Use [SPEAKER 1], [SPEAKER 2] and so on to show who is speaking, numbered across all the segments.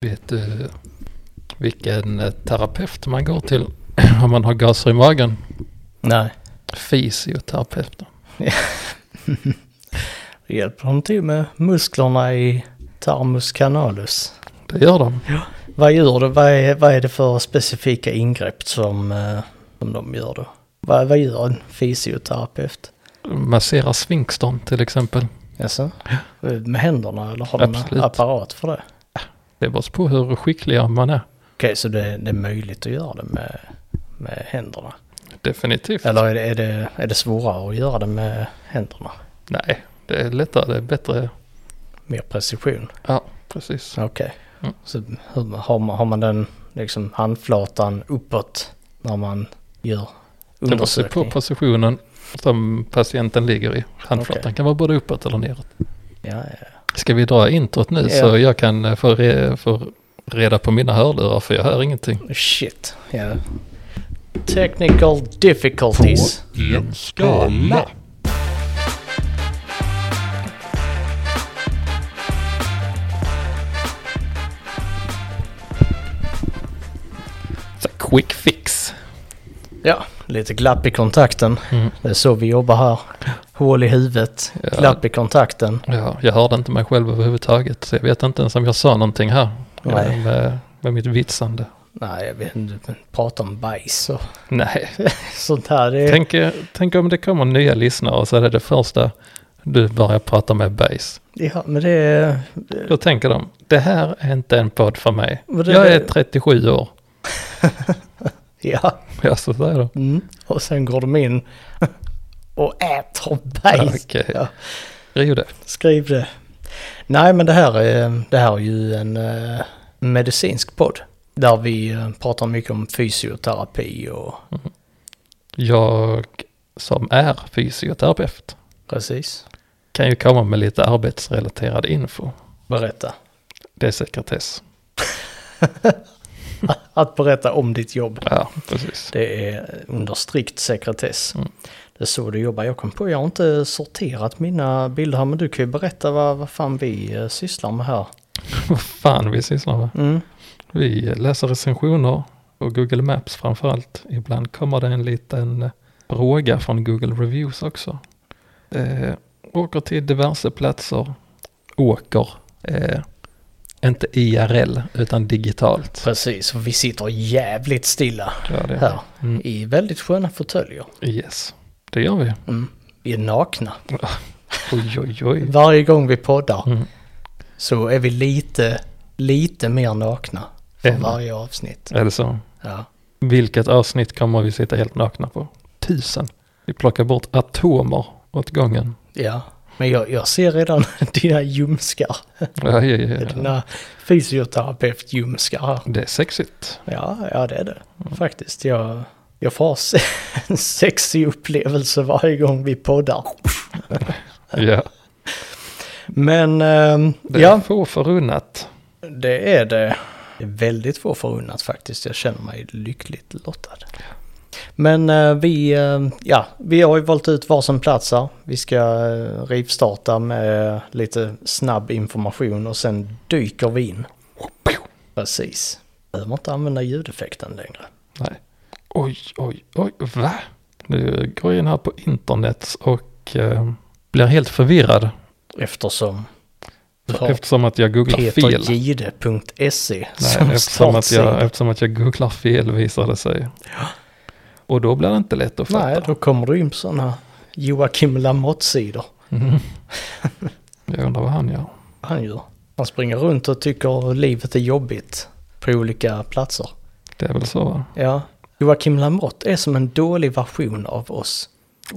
[SPEAKER 1] Vet du vilken eh, terapeut man går till om man har gaser i magen?
[SPEAKER 2] Nej.
[SPEAKER 1] Fysioterapeuten.
[SPEAKER 2] Då hjälper de till med musklerna i tarmus canalus.
[SPEAKER 1] Det gör de.
[SPEAKER 2] Vad gör det? Vad är, vad är det för specifika ingrepp som, eh, som de gör då? Vad, vad gör en fysioterapeut?
[SPEAKER 1] Masserar sfinkstern till exempel.
[SPEAKER 2] Jaså? Med händerna eller har de en
[SPEAKER 1] Absolut.
[SPEAKER 2] apparat för det?
[SPEAKER 1] Det beror på hur skicklig man är.
[SPEAKER 2] Okej, så det, det är möjligt att göra det med, med händerna?
[SPEAKER 1] Definitivt.
[SPEAKER 2] Eller är det, är, det, är det svårare att göra det med händerna?
[SPEAKER 1] Nej, det är lättare, det är bättre.
[SPEAKER 2] Mer precision?
[SPEAKER 1] Ja, precis.
[SPEAKER 2] Okej.
[SPEAKER 1] Mm.
[SPEAKER 2] Så hur, har, man, har man den liksom handflatan uppåt när man gör
[SPEAKER 1] Det beror på
[SPEAKER 2] undersökning?
[SPEAKER 1] positionen som patienten ligger i. Handflatan
[SPEAKER 2] Okej.
[SPEAKER 1] kan vara både uppåt eller neråt.
[SPEAKER 2] Ja, ja.
[SPEAKER 1] Ska vi dra introt nu
[SPEAKER 2] Ja.
[SPEAKER 1] så jag kan eh, få, re, få reda på mina hörlurar för jag hör ingenting.
[SPEAKER 2] Shit, ja. Technical difficulties.
[SPEAKER 3] en skala.
[SPEAKER 1] Så quick fix.
[SPEAKER 2] Ja, lite glapp i kontakten.
[SPEAKER 1] Mm.
[SPEAKER 2] Det är så vi jobbar här. Hål i huvudet,
[SPEAKER 1] Ja.
[SPEAKER 2] glapp i kontakten.
[SPEAKER 1] Ja, jag hörde inte mig själv överhuvudtaget så jag vet inte ens om jag sa någonting här.
[SPEAKER 2] Nej.
[SPEAKER 1] Eh, Med, med mitt vitsande.
[SPEAKER 2] Nej, jag vet inte. Prata om bajs och
[SPEAKER 1] Nej,
[SPEAKER 2] sånt här. Det är,
[SPEAKER 1] tänk, eh, tänk om det kommer nya lyssnare och så är det det första du börjar prata med bajs.
[SPEAKER 2] ja, men det är...
[SPEAKER 1] Då tänker de, det här är inte en podd för mig.
[SPEAKER 2] Men det-
[SPEAKER 1] jag är 37 år.
[SPEAKER 2] Ja.
[SPEAKER 1] Ja, så säger de.
[SPEAKER 2] Mm. Och sen går de in och äter bajs.
[SPEAKER 1] Okej.
[SPEAKER 2] Ja.
[SPEAKER 1] Skriv det.
[SPEAKER 2] Skriv det. Nej, men det här är, det här är ju en eh, medicinsk podd. Där vi eh, pratar mycket om fysioterapi och
[SPEAKER 1] Jag som är fysioterapeut
[SPEAKER 2] precis.
[SPEAKER 1] kan ju komma med lite arbetsrelaterad info.
[SPEAKER 2] Berätta.
[SPEAKER 1] Det är sekretess.
[SPEAKER 2] Att berätta om ditt jobb.
[SPEAKER 1] Ja, precis.
[SPEAKER 2] Det är under strikt sekretess.
[SPEAKER 1] Mm.
[SPEAKER 2] Det är så du jobbar. Jag kom på, jag har inte sorterat mina bilder här, men du kan ju berätta vad, vad fan vi eh, sysslar med här.
[SPEAKER 1] Vad fan vi sysslar med.
[SPEAKER 2] Mm.
[SPEAKER 1] Vi läser recensioner och Google Maps framförallt. Ibland kommer det en liten eh, fråga från Google Reviews också. Eh, åker till diverse platser. Åker. Eh, inte IRL utan digitalt.
[SPEAKER 2] Precis, och vi sitter jävligt stilla
[SPEAKER 1] Ja, det är
[SPEAKER 2] här.
[SPEAKER 1] det. Mm.
[SPEAKER 2] I väldigt sköna fåtöljer.
[SPEAKER 1] Yes, det gör vi.
[SPEAKER 2] Mm. Vi är nakna.
[SPEAKER 1] Oj, oj, oj.
[SPEAKER 2] Varje gång vi poddar
[SPEAKER 1] Mm.
[SPEAKER 2] så är vi lite, lite mer nakna för
[SPEAKER 1] Eller?
[SPEAKER 2] varje avsnitt.
[SPEAKER 1] Är det så?
[SPEAKER 2] Ja.
[SPEAKER 1] Vilket avsnitt kommer vi sitta helt nakna på? Tusen. Vi plockar bort atomer åt gången.
[SPEAKER 2] ja. Men jag, jag ser redan dina ljumskar,
[SPEAKER 1] Ja, ja, ja, ja.
[SPEAKER 2] dina fysioterapeut-ljumskar här.
[SPEAKER 1] Det är sexigt.
[SPEAKER 2] Ja, ja det är det
[SPEAKER 1] Mm.
[SPEAKER 2] faktiskt. Jag, jag får ha se- en sexig upplevelse varje gång vi poddar.
[SPEAKER 1] Ja,
[SPEAKER 2] Men ehm,
[SPEAKER 1] det är
[SPEAKER 2] ja,
[SPEAKER 1] få förunnat.
[SPEAKER 2] det är det. Det är väldigt få förunnat faktiskt. Jag känner mig lyckligt lottad. Men eh, vi, eh, ja, vi har ju valt ut varsin plats här. Vi ska eh, rivstarta med eh, lite snabb information och sen dyker vi in. Precis. Behöver inte använda ljudeffekten längre.
[SPEAKER 1] Nej. Oj, oj, oj, va? Nu går jag in här på internet och eh, blir helt förvirrad.
[SPEAKER 2] Eftersom du har
[SPEAKER 1] Eftersom att jag googlar fel.
[SPEAKER 2] petergide.se
[SPEAKER 1] Nej,
[SPEAKER 2] som
[SPEAKER 1] eftersom, att jag,
[SPEAKER 2] startsida.
[SPEAKER 1] eftersom att jag googlar fel visar det sig. Och då blir det inte lätt att fatta.
[SPEAKER 2] Nej, då kommer du in på sådana Joakim Lamotte-sidor.
[SPEAKER 1] Mhm. Jag undrar vad han gör.
[SPEAKER 2] Han gör. Han springer runt och tycker livet är jobbigt på olika platser.
[SPEAKER 1] Det är väl så va?
[SPEAKER 2] Ja. Joakim Lamotte är som en dålig version av oss.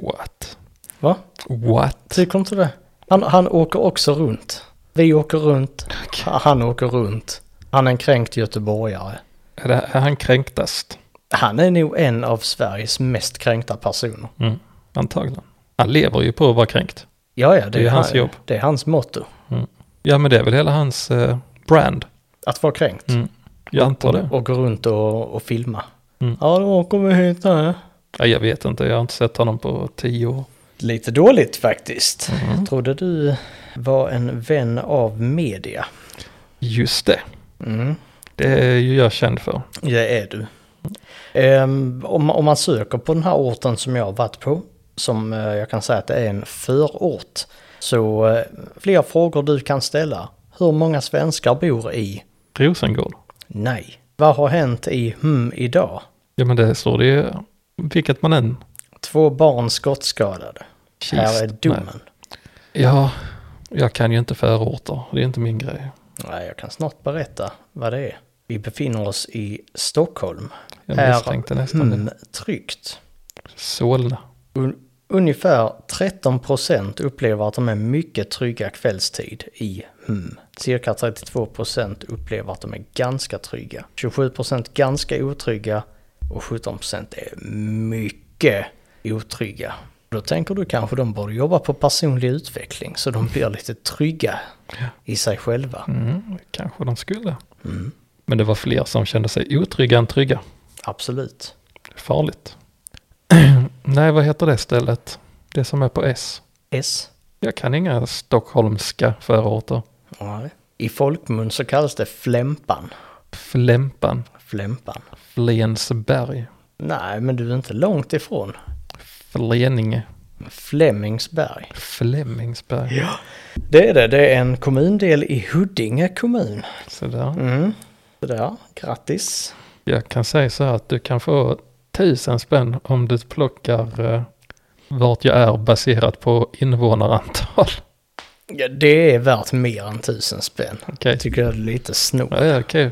[SPEAKER 1] What?
[SPEAKER 2] Va?
[SPEAKER 1] What?
[SPEAKER 2] Tycker inte det? Han, han åker också runt. Vi åker runt. Han åker runt. Han är en kränkt göteborgare.
[SPEAKER 1] Är, det, är han kränktast?
[SPEAKER 2] Han är nog en av Sveriges mest kränkta personer.
[SPEAKER 1] Mm. Antagligen. Han lever ju på att vara kränkt.
[SPEAKER 2] Ja, ja, det,
[SPEAKER 1] är
[SPEAKER 2] han-
[SPEAKER 1] hans jobb.
[SPEAKER 2] Det är hans motto.
[SPEAKER 1] Ja men det är väl hela hans eh, brand.
[SPEAKER 2] Att vara kränkt.
[SPEAKER 1] Mm. Jag antar det.
[SPEAKER 2] Och, och gå runt och, och filma.
[SPEAKER 1] Mm.
[SPEAKER 2] Ja, då kommer vi hit här.
[SPEAKER 1] Ja, jag vet inte, jag har inte sett honom på tio år.
[SPEAKER 2] Lite dåligt faktiskt. Jag trodde du var en vän av media.
[SPEAKER 1] Just det.
[SPEAKER 2] Mm.
[SPEAKER 1] Det är ju jag känd för.
[SPEAKER 2] Det är du. Ehm, om, om man söker på den här orten som jag har varit på, som eh, jag kan säga att det är en förort, så eh, flera frågor du kan ställa. Hur många svenskar bor i?
[SPEAKER 1] Rosengård.
[SPEAKER 2] Nej. Vad har hänt i hmm idag?
[SPEAKER 1] Ja men det står det ju, vilket man än.
[SPEAKER 2] Två barn skottskadade. Här är
[SPEAKER 1] Kist. Nej.
[SPEAKER 2] domen.
[SPEAKER 1] Ja, jag kan ju inte förorter. Det är inte min grej.
[SPEAKER 2] Nej, jag kan snart berätta vad det är. Vi befinner oss i Stockholm.
[SPEAKER 1] Jag
[SPEAKER 2] Här-
[SPEAKER 1] misstänkte nästan det.
[SPEAKER 2] Hmm, tryggt.
[SPEAKER 1] Solna.
[SPEAKER 2] Un ungefär 13 procent upplever att de är mycket trygga kvällstid i hmm. Cirka 32 procent upplever att de är ganska trygga. 27 procent ganska otrygga och 17 procent är mycket otrygga. Då tänker du kanske de borde jobba på personlig utveckling så de blir lite trygga i sig själva. Mm,
[SPEAKER 1] Mm, kanske de skulle. Men det var fler som kände sig otrygga än trygga.
[SPEAKER 2] Absolut.
[SPEAKER 1] Farligt. Nej, vad heter det stället? Det som är på S.
[SPEAKER 2] S.
[SPEAKER 1] Jag kan inga stockholmska förorter.
[SPEAKER 2] Nej. I folkmun så kallas det flämpan.
[SPEAKER 1] Flämpan,
[SPEAKER 2] Flämpan.
[SPEAKER 1] Flensberg,
[SPEAKER 2] Nej, men du är inte långt ifrån.
[SPEAKER 1] Fleninge,
[SPEAKER 2] Flemingsberg.
[SPEAKER 1] Flemingsberg.
[SPEAKER 2] Ja. Det är det. Det är en kommundel i Huddinge kommun.
[SPEAKER 1] Så där.
[SPEAKER 2] Mm. Sådär, grattis.
[SPEAKER 1] Jag kan säga så här att du kan få tusen spänn om du plockar eh, vart jag är baserat på invånarantal.
[SPEAKER 2] Ja, det är värt mer än tusen spänn.
[SPEAKER 1] Okej,
[SPEAKER 2] Jag tycker det är lite snor.
[SPEAKER 1] ja, ja, okej.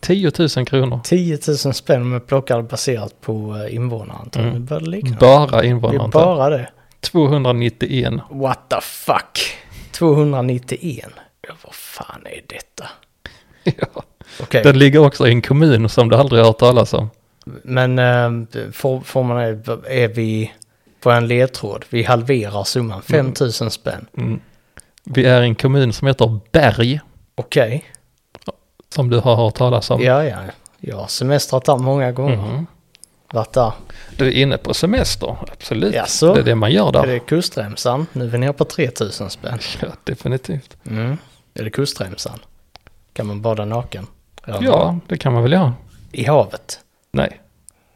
[SPEAKER 1] 10 000 kronor.
[SPEAKER 2] 10 000 spänn med plockar baserat på eh, invånarantal.
[SPEAKER 1] Mm.
[SPEAKER 2] Nu börjar det likna.
[SPEAKER 1] Bara
[SPEAKER 2] Det är
[SPEAKER 1] invånarantal.
[SPEAKER 2] bara det.
[SPEAKER 1] 291.
[SPEAKER 2] What the fuck? 291. Ja, vad fan är detta?
[SPEAKER 1] Ja.
[SPEAKER 2] Okej,
[SPEAKER 1] Den ligger också i en kommun som du aldrig har hört talas om.
[SPEAKER 2] men eh, får, får man, är vi på en ledtråd? Vi halverar
[SPEAKER 1] Mm.
[SPEAKER 2] summan, 5 000 spänn.
[SPEAKER 1] Vi är i en kommun som heter Berg,
[SPEAKER 2] Okej,
[SPEAKER 1] som du har hört talas om.
[SPEAKER 2] ja ja. Jag har semestrat där många gånger.
[SPEAKER 1] Mhm.
[SPEAKER 2] Varit där.
[SPEAKER 1] Du är inne på semester, absolut.
[SPEAKER 2] Jaså?
[SPEAKER 1] Det är det man gör
[SPEAKER 2] Är
[SPEAKER 1] där.
[SPEAKER 2] det kustremsan? Nu är vi nere på 3 000 spänn.
[SPEAKER 1] Ja, definitivt.
[SPEAKER 2] Mm. Är det kustremsan? Kan man bada naken? Eller
[SPEAKER 1] Ja, det kan man väl göra.
[SPEAKER 2] I havet?
[SPEAKER 1] Nej,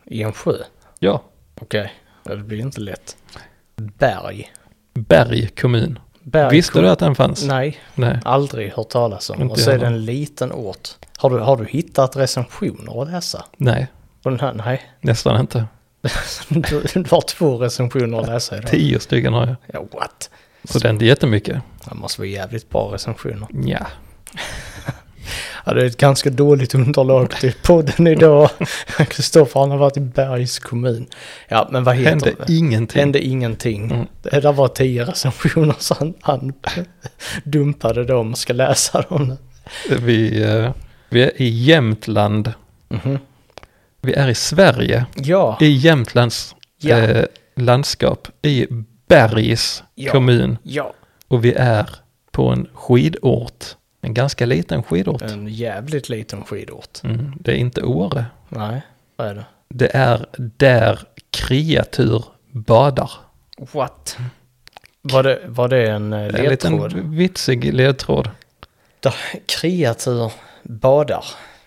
[SPEAKER 2] I en sjö?
[SPEAKER 1] ja.
[SPEAKER 2] Okej, Ja, det blir inte lätt. Berg.
[SPEAKER 1] Berg kommun.
[SPEAKER 2] Berg
[SPEAKER 1] Visste du att den fanns?
[SPEAKER 2] Nej,
[SPEAKER 1] Nej.
[SPEAKER 2] aldrig hört talas om.
[SPEAKER 1] Inte
[SPEAKER 2] och så är
[SPEAKER 1] jag
[SPEAKER 2] det en liten ort. Har du, har du hittat recensioner att läsa?
[SPEAKER 1] Nej,
[SPEAKER 2] På den här? Nej.
[SPEAKER 1] nästan inte.
[SPEAKER 2] Du, du har två recensioner att läsa idag.
[SPEAKER 1] Tio stycken har jag.
[SPEAKER 2] Ja, what?
[SPEAKER 1] Så det är inte jättemycket.
[SPEAKER 2] Det måste vara jävligt bra recensioner.
[SPEAKER 1] Ja.
[SPEAKER 2] Ja, det är ett ganska dåligt underlag till podden idag. Kristoffer han har varit i Bergs kommun. Ja, men vad heter
[SPEAKER 1] Hände
[SPEAKER 2] det?
[SPEAKER 1] ingenting.
[SPEAKER 2] Hände ingenting.
[SPEAKER 1] Mm.
[SPEAKER 2] Det där var tio recensioner så han, han dumpade dem och ska läsa dem.
[SPEAKER 1] Vi, eh, vi är i Jämtland.
[SPEAKER 2] Mhm.
[SPEAKER 1] Vi är i Sverige.
[SPEAKER 2] Ja,
[SPEAKER 1] I Jämtlands
[SPEAKER 2] Ja.
[SPEAKER 1] eh, landskap. I Bergs
[SPEAKER 2] Ja.
[SPEAKER 1] kommun.
[SPEAKER 2] ja.
[SPEAKER 1] Och vi är på en skidort. En ganska liten skidort.
[SPEAKER 2] En jävligt liten skidort.
[SPEAKER 1] Mm. Det är inte Åre.
[SPEAKER 2] Nej, vad är det?
[SPEAKER 1] Det är där kreatur badar.
[SPEAKER 2] What? Var det, var det en eh,
[SPEAKER 1] En
[SPEAKER 2] ledtråd?
[SPEAKER 1] liten vitsig ledtråd.
[SPEAKER 2] Där kreatur badar.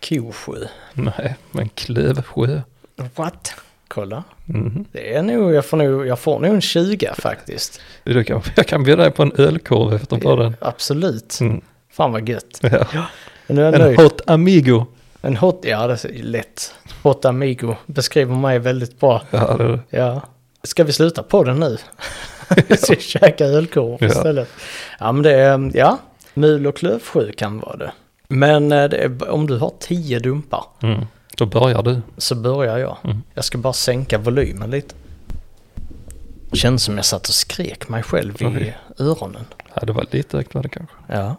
[SPEAKER 2] Kosjö.
[SPEAKER 1] Nej, men Klövsjö.
[SPEAKER 2] What? Kolla.
[SPEAKER 1] Mm.
[SPEAKER 2] Det är nog, jag får nog, jag får nog en 20 faktiskt.
[SPEAKER 1] Du kan, jag kan bjuda dig på en ölkorv efter podden.
[SPEAKER 2] Absolut.
[SPEAKER 1] Mm.
[SPEAKER 2] Fan vad gött.
[SPEAKER 1] Ja.
[SPEAKER 2] Nu är jag
[SPEAKER 1] En
[SPEAKER 2] nöjd.
[SPEAKER 1] hot amigo.
[SPEAKER 2] en hot, ja det är lätt. Hot amigo beskriver mig väldigt bra.
[SPEAKER 1] Ja, det är det.
[SPEAKER 2] Ja. Ska vi sluta på den nu? Så vi käkar ölkorv
[SPEAKER 1] Ja.
[SPEAKER 2] istället. Ja men det är, ja. Mul och klövsjö kan vara det. Men eh, det är, om du har tio dumpar
[SPEAKER 1] Mm. Då börjar du.
[SPEAKER 2] så börjar jag.
[SPEAKER 1] Mm.
[SPEAKER 2] Jag ska bara sänka volymen lite. Känns som jag satt och skrek mig själv i
[SPEAKER 1] Oj.
[SPEAKER 2] öronen.
[SPEAKER 1] Ja, det var lite högt var det kanske.
[SPEAKER 2] Ja.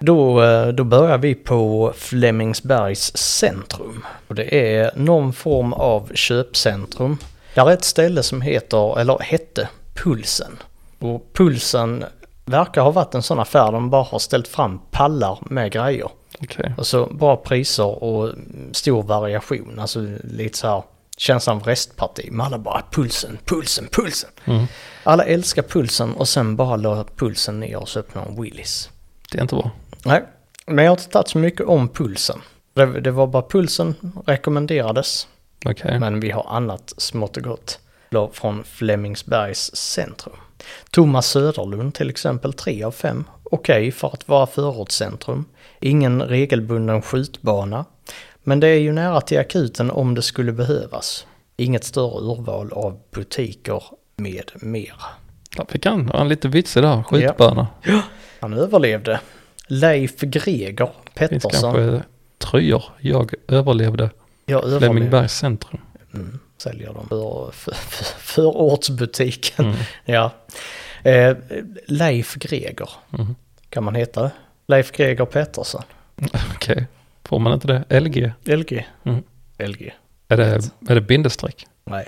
[SPEAKER 2] Då, eh, då börjar vi på Flemingsbergs centrum. Och det är någon form av köpcentrum. Där är ett ställe som heter, eller hette, Pulsen. Och Pulsen verkar ha varit en sån affär där de bara har ställt fram pallar med grejer.
[SPEAKER 1] Okej.
[SPEAKER 2] Och så bra priser och mm, stor variation. Alltså lite så här känslan av restparti. Men alla bara pulsen, pulsen, pulsen.
[SPEAKER 1] Mm.
[SPEAKER 2] Alla älskar pulsen och sen bara la pulsen ner och så öppnade de Willys.
[SPEAKER 1] Det är inte bra.
[SPEAKER 2] Nej. Men jag har inte tagit så mycket om pulsen. Det, det var bara pulsen rekommenderades.
[SPEAKER 1] Okej.
[SPEAKER 2] Men vi har annat smått och gott. Blå Från Flemingsbergs centrum. Thomas Söderlund till exempel, 3 av 5. Okej för att vara förortscentrum. Ingen regelbunden skjutbana. Men det är ju nära till akuten om det skulle behövas. Inget större urval av butiker med mera.
[SPEAKER 1] Där fick han, han är lite vitsig där, skitböna.
[SPEAKER 2] Han överlevde. Leif Greger
[SPEAKER 1] Finns
[SPEAKER 2] Pettersson.
[SPEAKER 1] kanske eh, tröjor. Jag överlevde
[SPEAKER 2] Jag överlevde.
[SPEAKER 1] Flemmingbergs centrum.
[SPEAKER 2] Mm, säljer dem för, för, för, förortsbutiken.
[SPEAKER 1] Mm.
[SPEAKER 2] Ja. Eh, Leif Greger.
[SPEAKER 1] Mhm.
[SPEAKER 2] Kan man heta det? Leif Greger Pettersson.
[SPEAKER 1] Okej, får man inte det? LG?
[SPEAKER 2] LG.
[SPEAKER 1] Mm.
[SPEAKER 2] LG.
[SPEAKER 1] Är det, är det bindestreck?
[SPEAKER 2] Nej.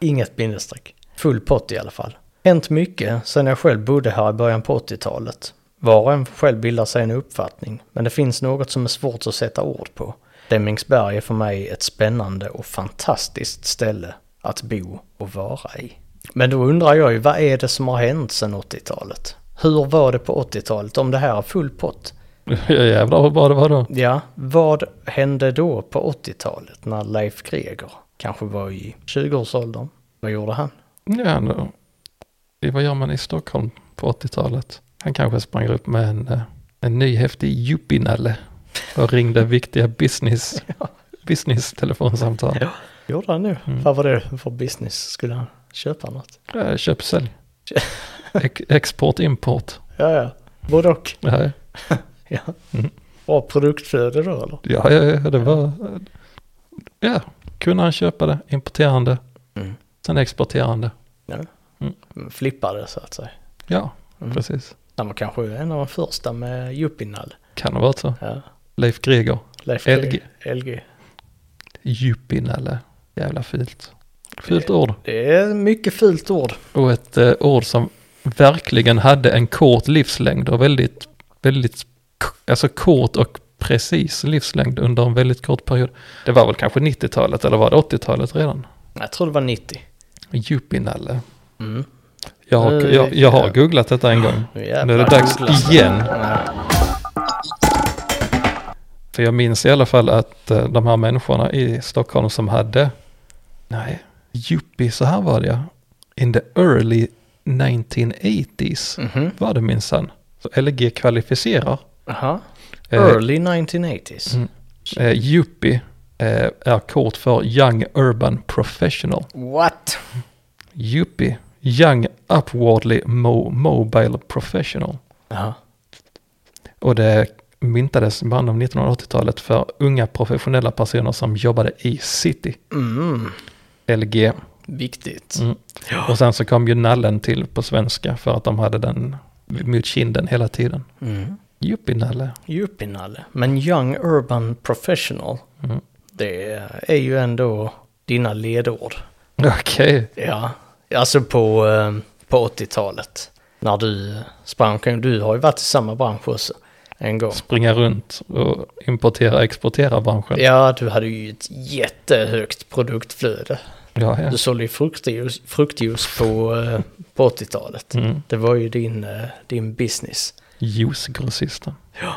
[SPEAKER 2] Inget bindestreck. Full pott i alla fall. Hänt mycket sedan jag själv bodde här i början på 80-talet. Var och en får själv bilda sig en uppfattning, men det finns något som är svårt att sätta ord på. Flemingsberg är för mig ett spännande och fantastiskt ställe att bo och vara i. Men då undrar jag ju, vad är det som har hänt sedan 80-talet? Hur var det på 80-talet om det här är full pott?
[SPEAKER 1] Jävlar vad bra det var då.
[SPEAKER 2] Ja, vad hände då på 80-talet när Leif Greger kanske var i 20-årsåldern? Vad gjorde han?
[SPEAKER 1] Ja, då. Det var gör man i Stockholm på 80-talet? Han kanske sprang upp med en, eh, en ny häftig yuppienalle och ringde viktiga business, business telefonsamtal.
[SPEAKER 2] Ja. Gjorde han nu?
[SPEAKER 1] Mm.
[SPEAKER 2] Vad var det för business? Skulle han köpa något?
[SPEAKER 1] Ja. Köp, sälj. Ex- export, import.
[SPEAKER 2] Ja, ja. Både och.
[SPEAKER 1] Ja,
[SPEAKER 2] Ja.
[SPEAKER 1] Mm.
[SPEAKER 2] Bra produktflöde då eller?
[SPEAKER 1] ja, ja, ja, det var... Ja, kunde han köpa det, importera han det,
[SPEAKER 2] Mm.
[SPEAKER 1] sen exportera han det.
[SPEAKER 2] Flippade så att säga.
[SPEAKER 1] Ja,
[SPEAKER 2] Mm.
[SPEAKER 1] precis.
[SPEAKER 2] Han var kanske en av de första med Juppinall.
[SPEAKER 1] Kan ha varit så.
[SPEAKER 2] Ja.
[SPEAKER 1] Leif Greger,
[SPEAKER 2] Leif
[SPEAKER 1] LG.
[SPEAKER 2] LG.
[SPEAKER 1] yuppienalle. Jävla fult.
[SPEAKER 2] Eh.
[SPEAKER 1] Fult ord.
[SPEAKER 2] Det är mycket fult ord.
[SPEAKER 1] Och ett eh, ord som verkligen hade en kort livslängd och väldigt, väldigt, k- alltså kort och precis livslängd under en väldigt kort period. Det var väl kanske 90-talet eller var det 80-talet redan?
[SPEAKER 2] Jag tror det var 90.
[SPEAKER 1] Jupinalle.
[SPEAKER 2] Mm.
[SPEAKER 1] Jag har,
[SPEAKER 2] Eh,
[SPEAKER 1] jag, jag har
[SPEAKER 2] ja.
[SPEAKER 1] googlat detta en gång.
[SPEAKER 2] Nu jävlar
[SPEAKER 1] Nu är det dags
[SPEAKER 2] googlas.
[SPEAKER 1] igen.
[SPEAKER 2] Ja.
[SPEAKER 1] För jag minns i alla fall att eh, de här människorna i Stockholm som hade, nej, yuppie, så här var det ja. In the early 1980s
[SPEAKER 2] Mhm.
[SPEAKER 1] var det minsann. Så LG kvalificerar.
[SPEAKER 2] Aha.
[SPEAKER 1] Eh,
[SPEAKER 2] Early 1980s.
[SPEAKER 1] Mm. Eh, Yuppie eh, är kort för Young Urban Professional.
[SPEAKER 2] What?
[SPEAKER 1] Yuppie, Young Upwardly Mo- Mobile Professional.
[SPEAKER 2] Aha.
[SPEAKER 1] Och det myntades i början av 1980-talet för unga professionella personer som jobbade i city,
[SPEAKER 2] Mm.
[SPEAKER 1] LG.
[SPEAKER 2] Viktigt.
[SPEAKER 1] Mm. Och sen så kom ju nallen till på svenska för att de hade den mot kinden hela tiden.
[SPEAKER 2] Mm.
[SPEAKER 1] Yuppie-nalle.
[SPEAKER 2] Djupinalle. Men Young Urban Professional,
[SPEAKER 1] Mm.
[SPEAKER 2] det är ju ändå dina ledord.
[SPEAKER 1] Okej,
[SPEAKER 2] Ja, alltså på, eh, på 80-talet. När du sprang omkring. Du har ju varit i samma bransch också en gång.
[SPEAKER 1] springa runt och importera exportera branschen.
[SPEAKER 2] Ja, du hade ju ett jättehögt produktflöde.
[SPEAKER 1] Ja, ja.
[SPEAKER 2] Du sålde ju fruktjuice, fruktjuice på, eh, på 80-talet.
[SPEAKER 1] Mm.
[SPEAKER 2] Det var ju din, eh, din business.
[SPEAKER 1] Juicegrossisten.
[SPEAKER 2] Ja,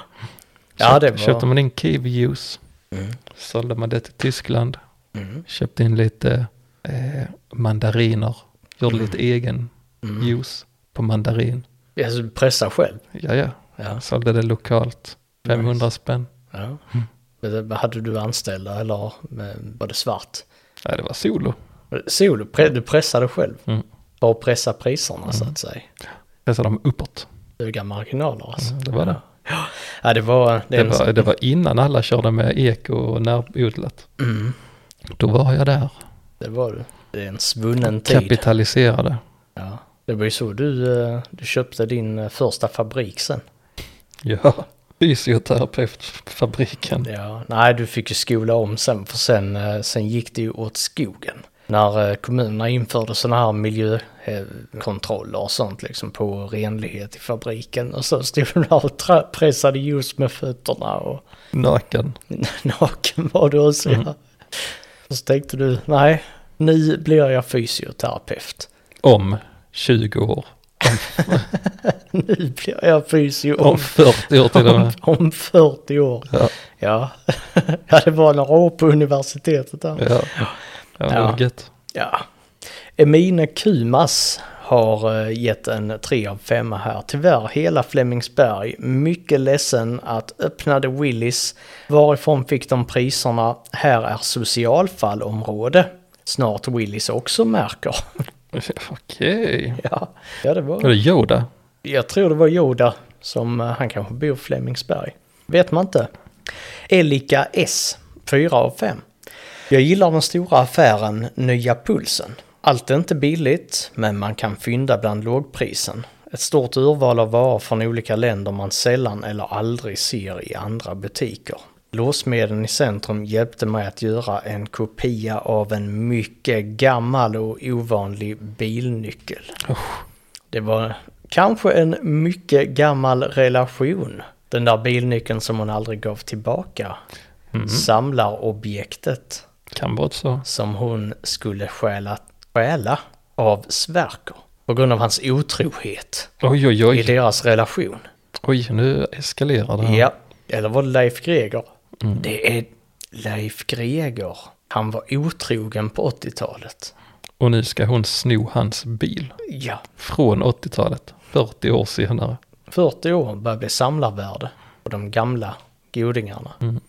[SPEAKER 2] det
[SPEAKER 1] Köpte- Köpte
[SPEAKER 2] var...
[SPEAKER 1] man in kiwi juice,
[SPEAKER 2] Mm.
[SPEAKER 1] sålde man det till Tyskland,
[SPEAKER 2] Mm,
[SPEAKER 1] köpte in lite eh, mandariner, gjorde lite egen
[SPEAKER 2] mm.
[SPEAKER 1] juice på mandarin.
[SPEAKER 2] Alltså, du pressar själv.
[SPEAKER 1] Ja, ja,
[SPEAKER 2] Ja.
[SPEAKER 1] sålde det lokalt. 500 spänn.
[SPEAKER 2] Ja. Men Hade du anställda eller men, var det svart?
[SPEAKER 1] Nej, det var solo.
[SPEAKER 2] Sol, pre, du pressade själv.
[SPEAKER 1] Mm.
[SPEAKER 2] Bara pressa priserna så att säga.
[SPEAKER 1] Pressade dem uppåt.
[SPEAKER 2] Höga marginaler alltså.
[SPEAKER 1] Mm, det var det.
[SPEAKER 2] Ja, det var... Det
[SPEAKER 1] Det
[SPEAKER 2] är en-
[SPEAKER 1] var, det var innan alla körde med eko och närodlat.
[SPEAKER 2] Mm,
[SPEAKER 1] Då var jag där.
[SPEAKER 2] det var du. Det är en svunnen tid.
[SPEAKER 1] Kapitaliserade.
[SPEAKER 2] Ja. Det var ju så du, eh, du köpte din eh, första fabrik sen.
[SPEAKER 1] Ja, fysioterapeutfabriken.
[SPEAKER 2] Ja, nej, du fick ju skola om sen för sen, eh, sen gick det ju åt skogen. När eh, kommunerna införde sådana här miljökontroller och sånt liksom på renlighet i fabriken och så stod du där och tra- pressade juice med fötterna och
[SPEAKER 1] Naken.
[SPEAKER 2] naken var du och så.
[SPEAKER 1] Mm.
[SPEAKER 2] ja. Och så tänkte du, nej, nu blir jag fysioterapeut.
[SPEAKER 1] Om 20 år.
[SPEAKER 2] nu blir jag fysio
[SPEAKER 1] Om 40 år till och med.
[SPEAKER 2] om 40 år.
[SPEAKER 1] Ja.
[SPEAKER 2] Ja, ja det var några år på universitetet där.
[SPEAKER 1] Ja, ja det
[SPEAKER 2] Ja.
[SPEAKER 1] var gött.
[SPEAKER 2] Ja. Emina Kumas har eh, gett en 3 av 5 här. Tyvärr hela Flemingsberg. Mycket ledsen att öppnade Willys. Varifrån fick de priserna? Här är socialfallområde. Snart Willys också märker.
[SPEAKER 1] Okej.
[SPEAKER 2] ja. ja, det
[SPEAKER 1] Var
[SPEAKER 2] var...
[SPEAKER 1] det Yoda?
[SPEAKER 2] Jag tror det var Yoda som... eh, Han kanske bor i Flemingsberg. Vet man inte. Elika S. 4 av 5. Jag gillar den stora affären Nya Pulsen. Allt är inte billigt, men man kan fynda bland lågprisen. Ett stort urval av varor från olika länder man sällan eller aldrig ser i andra butiker. Låsmedlen i centrum hjälpte mig att göra en kopia av en mycket gammal och ovanlig bilnyckel. Det var kanske en mycket gammal relation. Den där bilnyckeln som hon aldrig gav tillbaka. Samlarobjektet
[SPEAKER 1] Kan vara så.
[SPEAKER 2] som hon skulle stjäla, stjäla av Sverker. På grund av hans otrohet
[SPEAKER 1] Oj, oj,
[SPEAKER 2] i
[SPEAKER 1] oj.
[SPEAKER 2] deras relation.
[SPEAKER 1] Oj, nu eskalerar det här.
[SPEAKER 2] Ja, eller var det Leif Greger? Det är Leif Greger. Han var otrogen på 80-talet.
[SPEAKER 1] Och nu ska hon sno hans bil.
[SPEAKER 2] Ja,
[SPEAKER 1] Från 80-talet. 40 år senare.
[SPEAKER 2] 40 år börjar bli samlarvärde på de gamla godingarna.
[SPEAKER 1] Mm.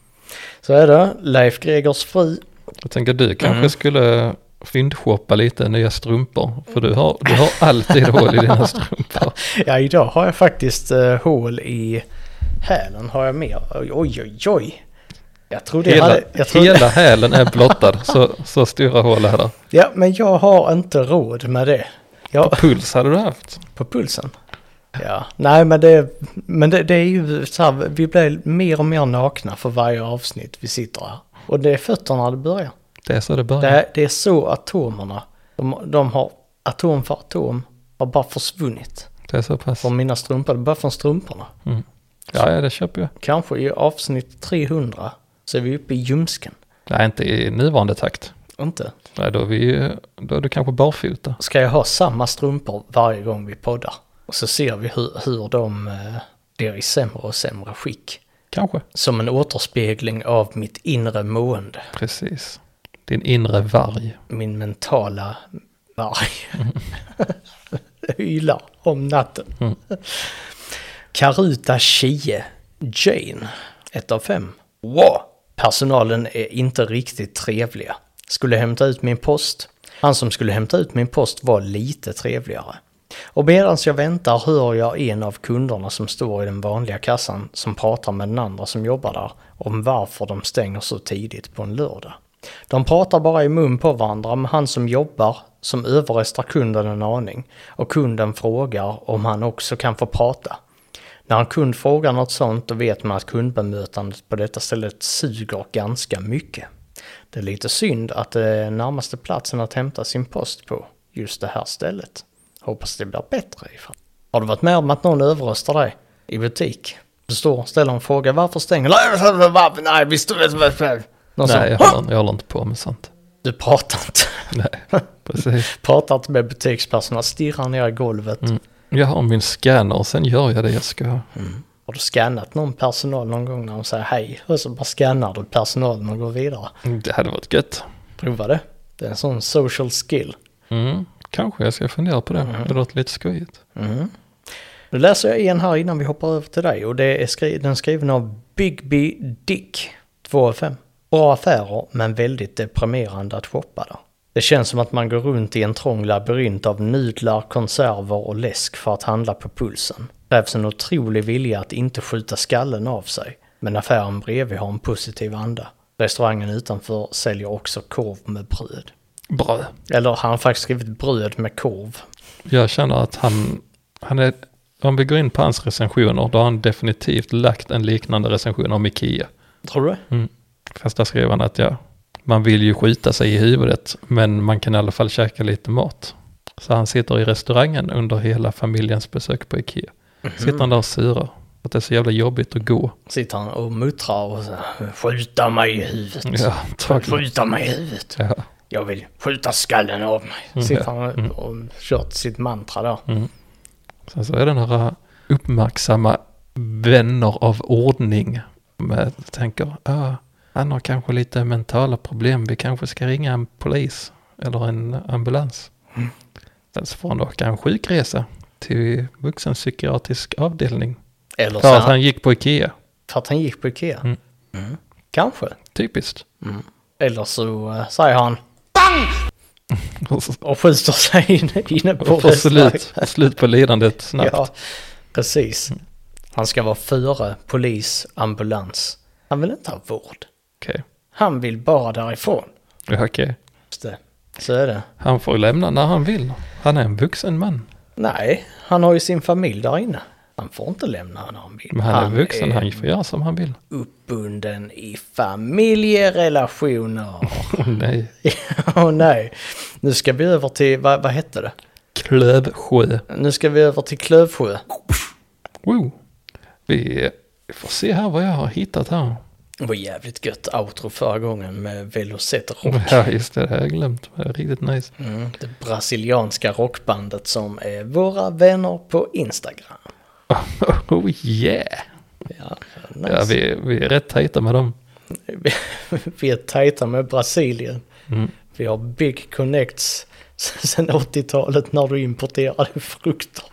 [SPEAKER 2] Så är det. Leif Gregers fru.
[SPEAKER 1] Jag tänker du kanske
[SPEAKER 2] Mm.
[SPEAKER 1] skulle fyndshoppa lite nya strumpor. För du har, du har alltid hål i dina strumpor.
[SPEAKER 2] Ja, idag har jag faktiskt eh, hål i hälen har jag med. Oj, oj, oj, oj. Jag trodde jag
[SPEAKER 1] Hela,
[SPEAKER 2] hade... Jag trodde,
[SPEAKER 1] hela hälen är blottad. Så, så stora hål är det.
[SPEAKER 2] Ja, men jag har inte råd med det. Jag,
[SPEAKER 1] Puls hade du haft.
[SPEAKER 2] på pulsen. Ja, nej men det, men det, det är ju så här, vi blir mer och mer nakna för varje avsnitt vi sitter här. Och det är fötterna det börjar.
[SPEAKER 1] Det är så det börjar.
[SPEAKER 2] Det, det är så atomerna, de, de har atom för atom, har bara försvunnit.
[SPEAKER 1] Det är så pass.
[SPEAKER 2] Från mina strumpor, det börjar från strumporna.
[SPEAKER 1] Ja, ja, det köper jag.
[SPEAKER 2] Kanske i avsnitt 300 så är vi uppe i ljumsken.
[SPEAKER 1] Nej, inte i nuvarande takt.
[SPEAKER 2] Inte?
[SPEAKER 1] Nej, då är, vi, ju- då är du kanske barfota.
[SPEAKER 2] Ska jag ha samma strumpor varje gång vi poddar? Och så ser vi hur, hur de eh, blir i sämre och sämre skick.
[SPEAKER 1] Kanske.
[SPEAKER 2] Som en återspegling av mitt inre mående,
[SPEAKER 1] Precis. Din inre varg.
[SPEAKER 2] min mentala varg. Ylar om natten. Karuta Chie, Jane, 1 av 5. Wow! Personalen är inte riktigt trevliga. Skulle hämta ut min post. Han som skulle hämta ut min post var lite trevligare. Och medan jag väntar hör jag en av kunderna som står i den vanliga kassan som pratar med den andra som jobbar där om varför de stänger så tidigt på en lördag. De pratar bara i mun på varandra med han som jobbar som överröstar kunden en aning och kunden frågar om han också kan få prata. När en kund frågar något sånt då vet man att kundbemötandet på detta stället suger ganska mycket. Det är lite synd att det är närmaste platsen att hämta sin post på just det här stället. Hoppas det blir bättre ifall. Har du varit med om att någon överröstar dig i butik? Du står och ställer en fråga varför stänger Nej, varför? Nej, visst du vet vad Någon
[SPEAKER 1] Nej, jag
[SPEAKER 2] som,
[SPEAKER 1] håller, jag håller inte på med sånt.
[SPEAKER 2] du pratar inte.
[SPEAKER 1] Nej, precis.
[SPEAKER 2] Pratar inte med butikspersonal, stirrar ner i golvet.
[SPEAKER 1] Jag har min scanner och sen gör jag det jag ska.
[SPEAKER 2] Har du skannat någon personal någon gång när de säger hej? Och så bara skannar du personalen och går vidare.
[SPEAKER 1] Det hade varit gött.
[SPEAKER 2] Prova det. Det är en sån social skill.
[SPEAKER 1] Mm. Kanske jag ska fundera på det. Det låter lite skojigt.
[SPEAKER 2] Nu läser jag en här innan vi hoppar över till dig och det är skri- den är skriven av Bigby Dick 2 av 5. Bra affärer men väldigt deprimerande att shoppa där. Det känns som att man går runt i en trång labyrint av nudlar, konserver och läsk för att handla på pulsen. Krävs en otrolig vilja att inte skjuta skallen av sig. Men affären bredvid har en positiv anda. Restaurangen utanför säljer också korv med bröd.
[SPEAKER 1] Bra.
[SPEAKER 2] Eller har han faktiskt skrivit bröd med korv?
[SPEAKER 1] Jag känner att han, han är, om vi går in på hans recensioner, då har han definitivt lagt en liknande recension om Ikea.
[SPEAKER 2] Tror du det?
[SPEAKER 1] Mm. Fast där skrev han att ja, man vill ju skjuta sig i huvudet, men man kan i alla fall käka lite mat. Så han sitter i restaurangen under hela familjens besök på Ikea. Sitter han där och surar. Att det är så jävla jobbigt att gå.
[SPEAKER 2] Sitter han och muttrar och så här, skjuta mig i huvudet.
[SPEAKER 1] Ja, tack.
[SPEAKER 2] Skjuta mig i huvudet.
[SPEAKER 1] Ja,
[SPEAKER 2] Jag
[SPEAKER 1] Mm.
[SPEAKER 2] vill skjuta skallen av mig. Sitter han och kört sitt mantra där.
[SPEAKER 1] Sen så är det några uppmärksamma vänner av ordning. Med, tänker, ah, han har kanske lite mentala problem, vi kanske ska ringa en polis eller en ambulans.
[SPEAKER 2] Mm.
[SPEAKER 1] Sen så får han då åka en sjukresa till vuxenpsykiatrisk avdelning.
[SPEAKER 2] Eller så
[SPEAKER 1] För att
[SPEAKER 2] han,
[SPEAKER 1] han gick på Ikea,
[SPEAKER 2] för att han gick på Ikea.
[SPEAKER 1] Mm.
[SPEAKER 2] Mm. Kanske.
[SPEAKER 1] typiskt.
[SPEAKER 2] Eller så eh, säger han
[SPEAKER 1] Och så-
[SPEAKER 2] och skjuter sig inne, inne på
[SPEAKER 1] och får slut,
[SPEAKER 2] restaurangen.
[SPEAKER 1] slut på lidandet snabbt.
[SPEAKER 2] Ja, precis.
[SPEAKER 1] Mm.
[SPEAKER 2] Han ska vara före polis, ambulans. Han vill inte ha vård.
[SPEAKER 1] Okej,
[SPEAKER 2] Han vill bara därifrån.
[SPEAKER 1] ja, okej.
[SPEAKER 2] Just det. Så är det.
[SPEAKER 1] Han får lämna när han vill. Han är en vuxen man.
[SPEAKER 2] Nej, han har ju sin familj där inne. Han får inte lämna när han vill.
[SPEAKER 1] Men han, är vuxen, han får göra som han vill.
[SPEAKER 2] uppbunden i familjerelationer.
[SPEAKER 1] Åh, nej.
[SPEAKER 2] Åh nej. Nu ska vi över till, vad, vad hette det?
[SPEAKER 1] Klövsjö.
[SPEAKER 2] Nu ska vi över till Klövsjö.
[SPEAKER 1] Wow. Vi får se här vad jag har hittat här.
[SPEAKER 2] Det var jävligt gött outro förra gången med Velocet Rock.
[SPEAKER 1] Ja, just det, det har jag glömt. Det är riktigt nice.
[SPEAKER 2] Mm, det brasilianska rockbandet som är våra vänner på Instagram.
[SPEAKER 1] Oh yeah!
[SPEAKER 2] Ja,
[SPEAKER 1] Ja,
[SPEAKER 2] nice.
[SPEAKER 1] vi, vi är rätt tajta med dem.
[SPEAKER 2] vi... är tajta med Brasilien.
[SPEAKER 1] Mm.
[SPEAKER 2] Vi har big connects sen 80-talet när du importerade frukter.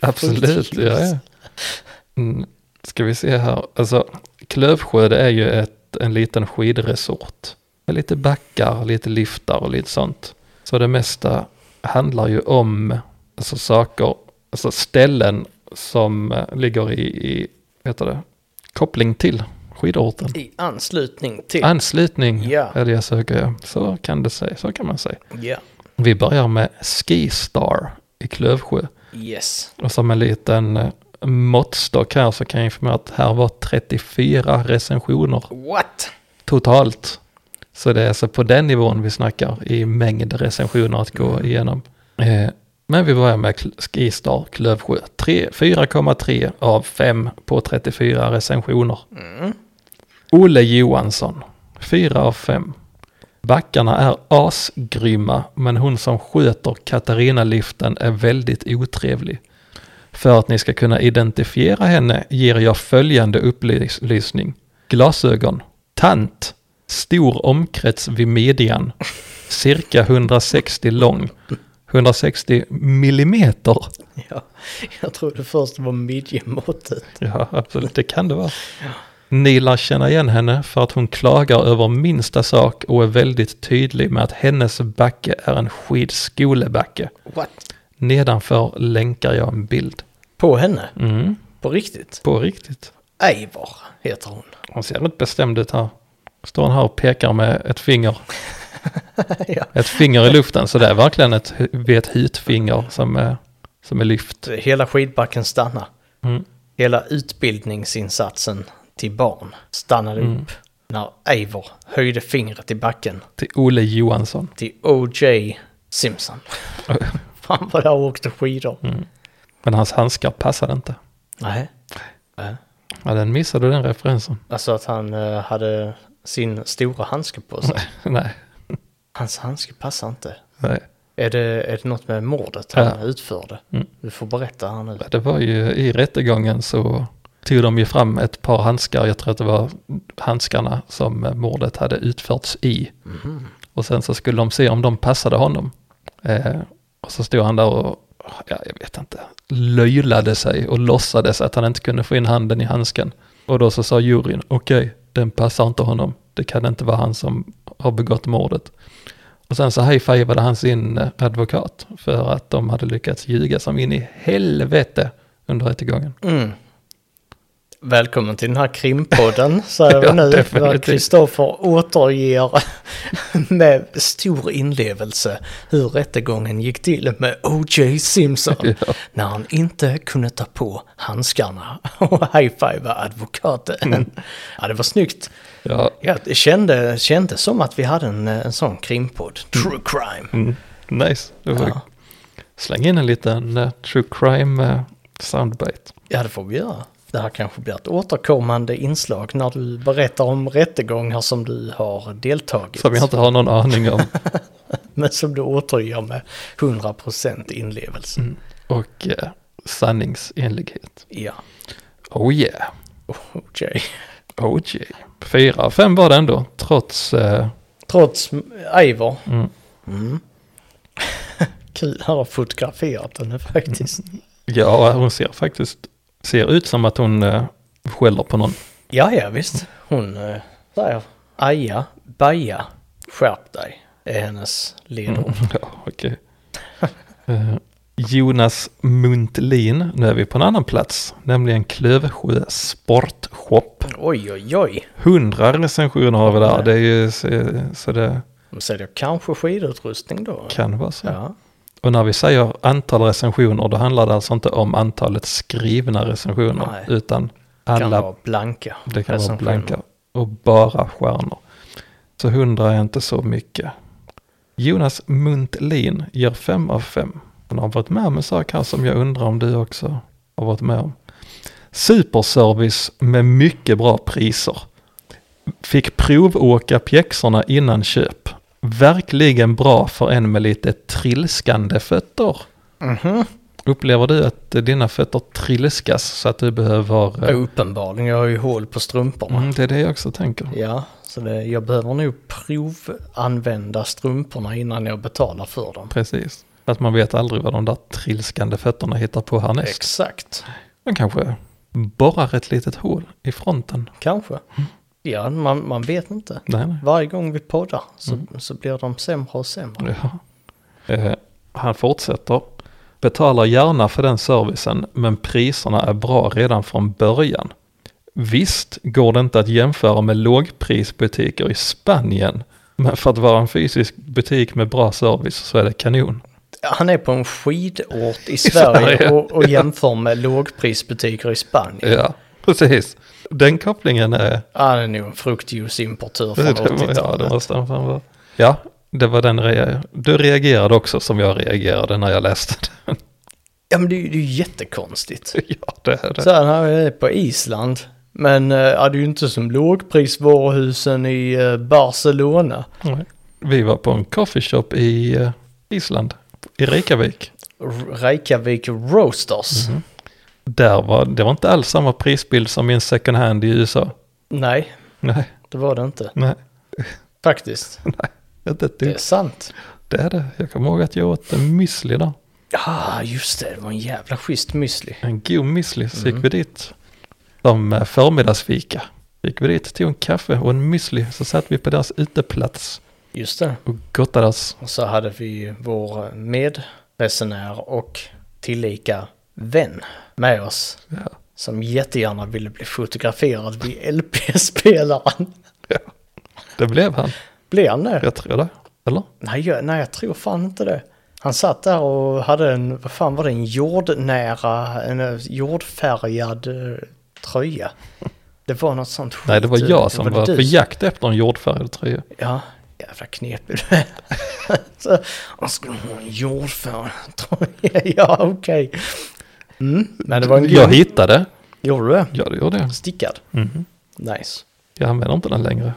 [SPEAKER 1] Absolut,
[SPEAKER 2] Fullt
[SPEAKER 1] ja, ja. Mm. Ska vi se här. Alltså, Klövsjö det är ju ett, en liten skidresort. Med lite backar, lite liftar och lite sånt. Så det mesta handlar ju om alltså, saker, alltså ställen som eh, ligger i, i vad heter det, koppling till skidorten.
[SPEAKER 2] I anslutning till...
[SPEAKER 1] Anslutning
[SPEAKER 2] Ja.
[SPEAKER 1] är det jag söker, ja. så kan det säga, så kan man säga.
[SPEAKER 2] ja,
[SPEAKER 1] Vi börjar med Skistar i Klövsjö.
[SPEAKER 2] yes.
[SPEAKER 1] Och som en liten eh, måttstock här så kan jag informera att här var 34 recensioner
[SPEAKER 2] What?
[SPEAKER 1] totalt. Så det är alltså på den nivån vi snackar i mängd recensioner att gå igenom. Eh, Men vi börjar med Kl- Skistar Klövsjö. Tre- 4,3 av 5 på 34 recensioner.
[SPEAKER 2] Mm.
[SPEAKER 1] Olle Johansson, 4 av 5. Backarna är asgrymma, men hon som sköter Katarina-liften är väldigt otrevlig. För att ni ska kunna identifiera henne ger jag följande upplysning. Glasögon, tant, stor omkrets vid midjan, cirka 160 lång, 160 millimeter.
[SPEAKER 2] Ja, jag trodde först det var midjemåttet.
[SPEAKER 1] Ja, absolut, det kan det vara. Ni lär känna igen henne för att hon klagar över minsta sak och är väldigt tydlig med att hennes backe är en skidskolebacke.
[SPEAKER 2] What?
[SPEAKER 1] Nedanför länkar jag en bild.
[SPEAKER 2] På henne?
[SPEAKER 1] Mm,
[SPEAKER 2] På riktigt?
[SPEAKER 1] på riktigt.
[SPEAKER 2] Eivor heter hon.
[SPEAKER 1] Hon ser rätt bestämd ut här. Står hon här och pekar med ett finger.
[SPEAKER 2] ja.
[SPEAKER 1] Ett finger i luften, så det är verkligen ett, hu- vid ett hytfinger som är, som är lyft.
[SPEAKER 2] Hela skidbacken stannar.
[SPEAKER 1] Mm.
[SPEAKER 2] Hela utbildningsinsatsen till barn stannade upp när Eivor höjde fingret i backen
[SPEAKER 1] Till Olle Johansson.
[SPEAKER 2] till O.J. Simpson. Han var där och åkte skidor.
[SPEAKER 1] Men hans handskar passade inte.
[SPEAKER 2] Nej. Nej.
[SPEAKER 1] Ja, den missade den referensen.
[SPEAKER 2] Alltså att han eh, hade sin stora handske på sig.
[SPEAKER 1] Nej.
[SPEAKER 2] Hans handske passar inte.
[SPEAKER 1] Nej.
[SPEAKER 2] Är det, är det något med mordet
[SPEAKER 1] Ja.
[SPEAKER 2] han utförde?
[SPEAKER 1] Mm.
[SPEAKER 2] Du får berätta här nu.
[SPEAKER 1] Det var ju i rättegången så tog de ju fram ett par handskar. Jag tror att det var handskarna som mordet hade utförts i. Och sen så skulle de se om de passade honom. Eh, och så stod han där och, ja, jag vet inte, löjlade sig och låtsades att han inte kunde få in handen i handsken. Och då så sa juryn, okej, den passar inte honom. Det kan inte vara han som har begått mordet. Och sen så high-fivade han sin eh, advokat för att de hade lyckats ljuga som in i helvete under rättegången.
[SPEAKER 2] Mm. Välkommen till den här krimpodden, säger vi
[SPEAKER 1] Ja,
[SPEAKER 2] nu. Där
[SPEAKER 1] definitivt.
[SPEAKER 2] Kristoffer återger med stor inlevelse hur rättegången gick till med O.J. Simpson.
[SPEAKER 1] Ja.
[SPEAKER 2] När han inte kunde ta på handskarna och high-fiva advokaten.
[SPEAKER 1] Mm.
[SPEAKER 2] Ja, det var snyggt.
[SPEAKER 1] Ja,
[SPEAKER 2] Ja, det kändes kände som att vi hade en, en sån krimpodd. True crime.
[SPEAKER 1] mm, nice. Det var
[SPEAKER 2] Ja.
[SPEAKER 1] Släng in en liten eh, true crime eh, soundbite.
[SPEAKER 2] Ja, det får vi göra. Det här kanske blir ett återkommande inslag när du berättar om rättegångar som du har deltagit
[SPEAKER 1] Som jag inte har någon aning om. Mm.
[SPEAKER 2] men som du återger med 100% inlevelse.
[SPEAKER 1] Och eh, sanningsenlighet.
[SPEAKER 2] Ja,
[SPEAKER 1] Oh yeah,
[SPEAKER 2] okej.
[SPEAKER 1] oh yeah. Fyra av fem var det ändå, trots... Eh,
[SPEAKER 2] Trots Eivor.
[SPEAKER 1] mm.
[SPEAKER 2] Kul, han har fotograferat henne faktiskt.
[SPEAKER 1] Ja, hon ser faktiskt... Ser ut som att hon eh, skäller på någon.
[SPEAKER 2] Ja, ja visst. Hon eh, säger aja, baja, skärp dig. är hennes ledord.
[SPEAKER 1] Mm, Ja, okej. Eh, Jonas Muntlin, nu är vi på en annan plats, nämligen Klövsjö Sportshop.
[SPEAKER 2] Oj, oj, oj.
[SPEAKER 1] Hundra recensioner har vi där, det är ju så, så det
[SPEAKER 2] De säljer kanske skidutrustning då.
[SPEAKER 1] kan vara så.
[SPEAKER 2] Ja.
[SPEAKER 1] Och när vi säger antal recensioner, då handlar det alltså inte om antalet skrivna recensioner,
[SPEAKER 2] Nej.
[SPEAKER 1] utan
[SPEAKER 2] Kan
[SPEAKER 1] alla,
[SPEAKER 2] vara blanka.
[SPEAKER 1] det kan vara
[SPEAKER 2] recensioner.
[SPEAKER 1] blanka och bara stjärnor. Så hundra är inte så mycket. Jonas Muntlin ger fem av fem. Han har varit med om en sak här som jag undrar om du också har varit med om. Superservice med mycket bra priser. Fick provåka pjäxorna innan köp. Verkligen bra för en med lite trilskande fötter.
[SPEAKER 2] Mhm.
[SPEAKER 1] Upplever du att eh, dina fötter trilskas så att du behöver...
[SPEAKER 2] Ja,
[SPEAKER 1] eh,
[SPEAKER 2] uppenbarligen, jag har ju hål på strumporna.
[SPEAKER 1] Mm, det är det jag också tänker.
[SPEAKER 2] Ja, så det, jag behöver nog provanvända strumporna innan jag betalar för dem.
[SPEAKER 1] Precis. För Att man vet aldrig vad de där trilskande fötterna hittar på härnäst.
[SPEAKER 2] Exakt,
[SPEAKER 1] De kanske borrar ett litet hål i fronten.
[SPEAKER 2] kanske.
[SPEAKER 1] Mm.
[SPEAKER 2] Ja, man, man vet inte.
[SPEAKER 1] Nej, nej.
[SPEAKER 2] Varje gång vi poddar så,
[SPEAKER 1] Mm.
[SPEAKER 2] så blir de sämre och sämre.
[SPEAKER 1] Ja. Eh, han fortsätter. Betalar gärna för den servicen, men priserna är bra redan från början. Visst går det inte att jämföra med lågprisbutiker i Spanien, men för att vara en fysisk butik med bra service så är det kanon.
[SPEAKER 2] Han är på en skidort i Sverige
[SPEAKER 1] Sverige,
[SPEAKER 2] och, och jämför med lågprisbutiker i Spanien.
[SPEAKER 1] Ja, precis. Den kopplingen är...
[SPEAKER 2] Han är nog en fruktjuiceimportör från
[SPEAKER 1] Ja, det
[SPEAKER 2] 80-talet.
[SPEAKER 1] måste han fan vara. Ja, det var den rea- Du reagerade också som jag reagerade när jag läste den.
[SPEAKER 2] Ja, men det är ju det är ju jättekonstigt.
[SPEAKER 1] Ja, det är det.
[SPEAKER 2] Så han är på Island. Men eh, ja, det är ju inte som lågprisvaruhusen i eh, Barcelona.
[SPEAKER 1] Nej. Vi var på en coffeeshop i eh, Island, i Reykjavik.
[SPEAKER 2] R- Reykjavik Roasters.
[SPEAKER 1] Där var, det var inte alls samma prisbild som i en second hand i USA.
[SPEAKER 2] Nej,
[SPEAKER 1] Nej,
[SPEAKER 2] det var det inte.
[SPEAKER 1] nej,
[SPEAKER 2] Faktiskt.
[SPEAKER 1] inte ett
[SPEAKER 2] Det
[SPEAKER 1] dugg.
[SPEAKER 2] är sant.
[SPEAKER 1] Det är det. Jag kommer ihåg att jag åt en müsli där.
[SPEAKER 2] Ja, ah, just det. Det var en jävla schysst müsli.
[SPEAKER 1] En god müsli, så gick vi dit. Som eh, förmiddagsfika. Gick vi dit, tog en kaffe och en müsli, så satt vi på deras uteplats
[SPEAKER 2] Just det.
[SPEAKER 1] och gottades.
[SPEAKER 2] Och så hade vi vår medresenär och tillika vän med oss.
[SPEAKER 1] Ja.
[SPEAKER 2] Som jättegärna ville bli fotograferad vid LP-spelaren.
[SPEAKER 1] Det blev han,
[SPEAKER 2] Blev han det?
[SPEAKER 1] jag tror det. Eller?
[SPEAKER 2] Nej, jag, nej, jag tror fan inte det. Han satt där och hade en, vad fan var det, en jordnära, en eh, jordfärgad eh, tröja. Det var något sånt skit.
[SPEAKER 1] Nej, det var jag som
[SPEAKER 2] det
[SPEAKER 1] var
[SPEAKER 2] du
[SPEAKER 1] på
[SPEAKER 2] som-
[SPEAKER 1] jakt efter en jordfärgad tröja.
[SPEAKER 2] Ja, jävla knepig du är. Så, Han skulle ha en jordfärgad tröja, ja okej. Mm, men det var en
[SPEAKER 1] Jag hittade.
[SPEAKER 2] Gjorde du det?
[SPEAKER 1] Ja, det gjorde jag.
[SPEAKER 2] Stickad?
[SPEAKER 1] Mhm.
[SPEAKER 2] Nice.
[SPEAKER 1] Jag använder inte den längre.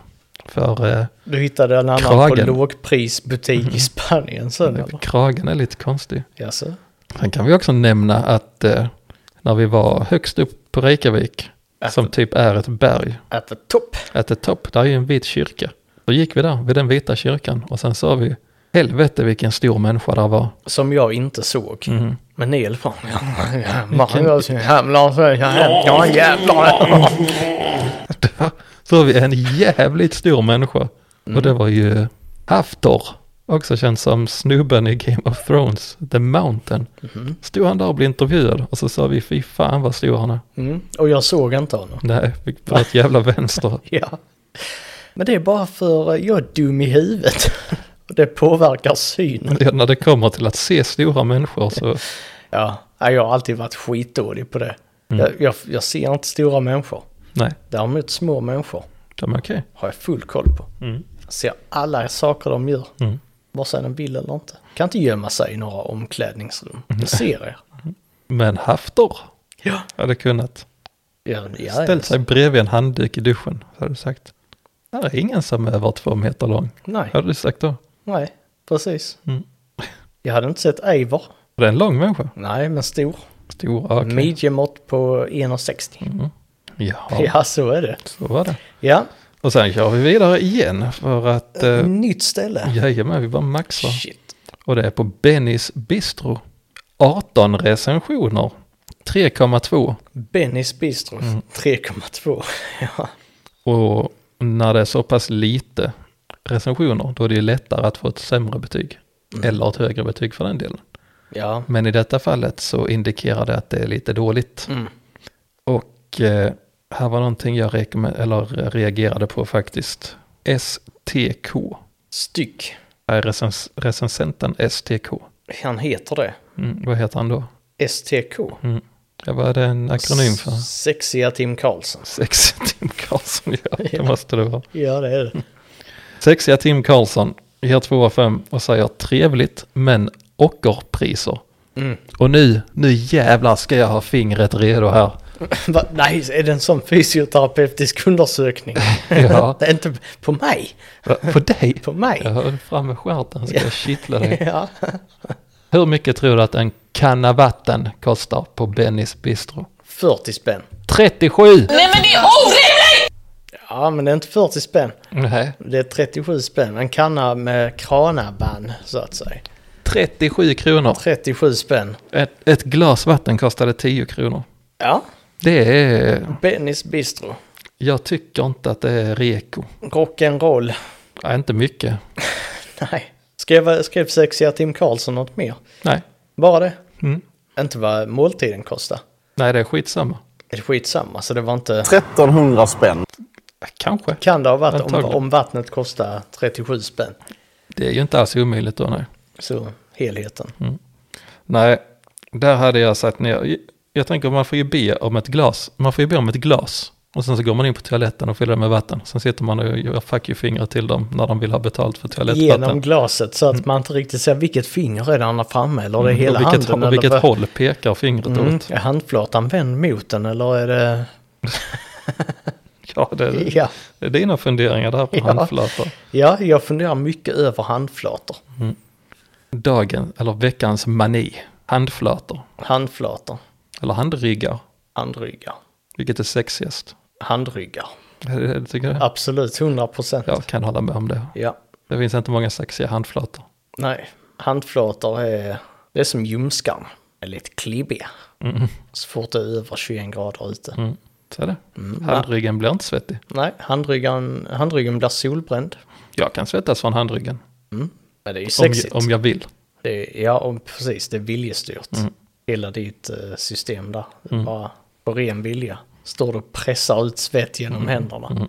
[SPEAKER 1] För eh,
[SPEAKER 2] Du hittade en annan
[SPEAKER 1] Kragen. Mhm. Mm.
[SPEAKER 2] på lågprisbutik i Spanien sen eller?
[SPEAKER 1] kragen är lite konstig.
[SPEAKER 2] Jaså?
[SPEAKER 1] Sen kan vi också nämna att eh, när vi var högst upp på Reykjavik,
[SPEAKER 2] Att-
[SPEAKER 1] som typ är ett berg,
[SPEAKER 2] At the top.
[SPEAKER 1] at the top, där är ju en vit kyrka. Då gick vi där, vid den vita kyrkan, och sen sa vi, helvete vilken stor människa där var.
[SPEAKER 2] Som jag inte såg.
[SPEAKER 1] Mhm.
[SPEAKER 2] Men Neil fan. Ja, ja, man gör sin hemla så jag hem- ja, jävlar.
[SPEAKER 1] Så har vi en jävligt stor människa. Och
[SPEAKER 2] Mm.
[SPEAKER 1] det var ju Haftor, också känd som snubben i Game of Thrones, The Mountain.
[SPEAKER 2] Mm-hmm.
[SPEAKER 1] Stod han där och blev intervjuad och så sa vi fy fan vad stor han är.
[SPEAKER 2] Mm. Och jag såg inte honom.
[SPEAKER 1] Nej, fick på ett jävla vänster.
[SPEAKER 2] Ja. Men det är bara för eh, jag är dum i huvudet. Och det påverkar synen.
[SPEAKER 1] Ja, när det kommer till att se stora människor så,
[SPEAKER 2] Ja, nej, jag har alltid varit skitdålig på det. Jag, jag, jag ser inte stora människor.
[SPEAKER 1] nej,
[SPEAKER 2] Däremot små människor
[SPEAKER 1] de är okej.
[SPEAKER 2] har jag full koll på. Jag ser alla saker de gör.
[SPEAKER 1] Mm.
[SPEAKER 2] Vare sig de vill eller inte. Kan inte gömma sig i några omklädningsrum. Jag ser er.
[SPEAKER 1] Men Haftor
[SPEAKER 2] Mm. Ja.
[SPEAKER 1] hade kunnat.
[SPEAKER 2] ja, ja
[SPEAKER 1] Ställt sig bredvid en handduk i duschen, så hade du sagt. Här är ingen som är över två meter lång.
[SPEAKER 2] Nej.
[SPEAKER 1] Hade du sagt då.
[SPEAKER 2] Nej, precis.
[SPEAKER 1] Mm.
[SPEAKER 2] Jag hade inte sett Eivor.
[SPEAKER 1] Det är en lång människa.
[SPEAKER 2] Nej, men stor.
[SPEAKER 1] Stora ökning.
[SPEAKER 2] Midjemått på 1,60.
[SPEAKER 1] Mm. Ja,
[SPEAKER 2] Ja. så är det.
[SPEAKER 1] så var det.
[SPEAKER 2] Ja,
[SPEAKER 1] Och sen kör vi vidare igen för att... Eh,
[SPEAKER 2] nytt ställe.
[SPEAKER 1] jajamän, vi bara maxar.
[SPEAKER 2] Shit.
[SPEAKER 1] Och det är på Bennys Bistro. 18 recensioner. 3,2.
[SPEAKER 2] Bennys Bistro
[SPEAKER 1] Mm.
[SPEAKER 2] 3,2. ja.
[SPEAKER 1] Och när det är så pass lite recensioner, då är det ju lättare att få ett sämre betyg. Eller ett högre betyg för den delen.
[SPEAKER 2] ja.
[SPEAKER 1] Men i detta fallet så indikerar det att det är lite dåligt.
[SPEAKER 2] Mm.
[SPEAKER 1] Och eh, här var någonting jag rekommend- eller reagerade på faktiskt. STK.
[SPEAKER 2] Styck.
[SPEAKER 1] Är recens- recensenten STK?
[SPEAKER 2] Han heter det.
[SPEAKER 1] Mm, vad heter han då?
[SPEAKER 2] STK.
[SPEAKER 1] Mm. Ja, vad är det en akronym för?
[SPEAKER 2] Sexiga Tim Karlsson.
[SPEAKER 1] Sexiga Tim Karlsson, ja det
[SPEAKER 2] Ja.
[SPEAKER 1] måste det vara.
[SPEAKER 2] Ja, det är det.
[SPEAKER 1] Sexiga Tim Karlsson ger 2 av 5 och säger trevligt men ockerpriser.
[SPEAKER 2] Mm.
[SPEAKER 1] Och nu, nu jävlar ska jag ha fingret redo här.
[SPEAKER 2] Va? Nej, är det en sån fysioterapeutisk undersökning?
[SPEAKER 1] Ja,
[SPEAKER 2] Det är inte på mig.
[SPEAKER 1] på dig.
[SPEAKER 2] På mig.
[SPEAKER 1] Jag höll fram med stjärten ska jag kittla dig.
[SPEAKER 2] Ja.
[SPEAKER 1] Hur mycket tror du att en kanna vatten kostar på Bennys Bistro?
[SPEAKER 2] 40 spänn.
[SPEAKER 1] 37!
[SPEAKER 3] Nej men det är orimligt!
[SPEAKER 2] Ja, men det är inte 40 spänn.
[SPEAKER 1] Nej,
[SPEAKER 2] Det är 37 spänn. En kanna med kranabann, så att säga.
[SPEAKER 1] 37 kronor.
[SPEAKER 2] 37 spänn.
[SPEAKER 1] Ett, ett glas vatten kostade 10 kronor.
[SPEAKER 2] Ja,
[SPEAKER 1] Det är...
[SPEAKER 2] Bennys Bistro.
[SPEAKER 1] Jag tycker inte att det är reko.
[SPEAKER 2] Rock'n'roll.
[SPEAKER 1] Nej, inte mycket.
[SPEAKER 2] Nej. Skrev, skrev sexiga Tim Karlsson något mer?
[SPEAKER 1] Nej.
[SPEAKER 2] Bara det?
[SPEAKER 1] Mm.
[SPEAKER 2] Inte vad måltiden kostar.
[SPEAKER 1] Nej, det är skitsamma.
[SPEAKER 2] Det är skitsamma, så det var inte...
[SPEAKER 4] 1300 spänn.
[SPEAKER 1] Kanske.
[SPEAKER 2] Kan det ha varit om,
[SPEAKER 1] Antagligen.
[SPEAKER 2] om vattnet kostar 37 spänn?
[SPEAKER 1] Det är ju inte alls omöjligt då, nej.
[SPEAKER 2] Så helheten.
[SPEAKER 1] Nej, där hade jag satt ner. Jag tänker man får ju be om ett glas. Man får ju be om ett glas. Och sen så går man in på toaletten och fyller det med vatten. Sen sitter man och gör fuck you-fingrar till dem när de vill ha betalt för toalettvatten.
[SPEAKER 2] Genom glaset så att man inte riktigt ser vilket finger är det han har framme eller det är hela
[SPEAKER 1] Mm. och vilket,
[SPEAKER 2] handen.
[SPEAKER 1] och vilket
[SPEAKER 2] eller vad-
[SPEAKER 1] håll pekar fingret
[SPEAKER 2] Mm,
[SPEAKER 1] åt?
[SPEAKER 2] är handflatan vänd mot den eller är det...
[SPEAKER 1] Ja, det, är-
[SPEAKER 2] Ja,
[SPEAKER 1] det är dina funderingar där på
[SPEAKER 2] Ja.
[SPEAKER 1] handflator.
[SPEAKER 2] ja jag funderar mycket över handflator.
[SPEAKER 1] Dagen, eller veckans mani. Handflator.
[SPEAKER 2] Handflator,
[SPEAKER 1] Eller handryggar.
[SPEAKER 2] handryggar,
[SPEAKER 1] Vilket är sexigast.
[SPEAKER 2] handryggar.
[SPEAKER 1] Det- det tycker jag.
[SPEAKER 2] Absolut, 100 procent.
[SPEAKER 1] Jag kan hålla med om det.
[SPEAKER 2] Ja,
[SPEAKER 1] Det finns inte många sexiga handflator.
[SPEAKER 2] nej. Handflator är... Det är som ljumskarn. Det är lite klibbiga. Så fort det är över 21 grader ute.
[SPEAKER 1] Mm. Så är det. Handryggen blir inte svettig.
[SPEAKER 2] Nej, handryggen, handryggen blir solbränd.
[SPEAKER 1] Jag kan svettas från handryggen.
[SPEAKER 2] Men det är ju
[SPEAKER 1] Om,
[SPEAKER 2] sexigt.
[SPEAKER 1] om jag vill.
[SPEAKER 2] Det är, ja, om, precis. Det är viljestyrt.
[SPEAKER 1] Mm.
[SPEAKER 2] Hela ditt eh, system där. Det är Bara på ren vilja. Står du och pressar ut svett genom
[SPEAKER 1] Mm.
[SPEAKER 2] händerna.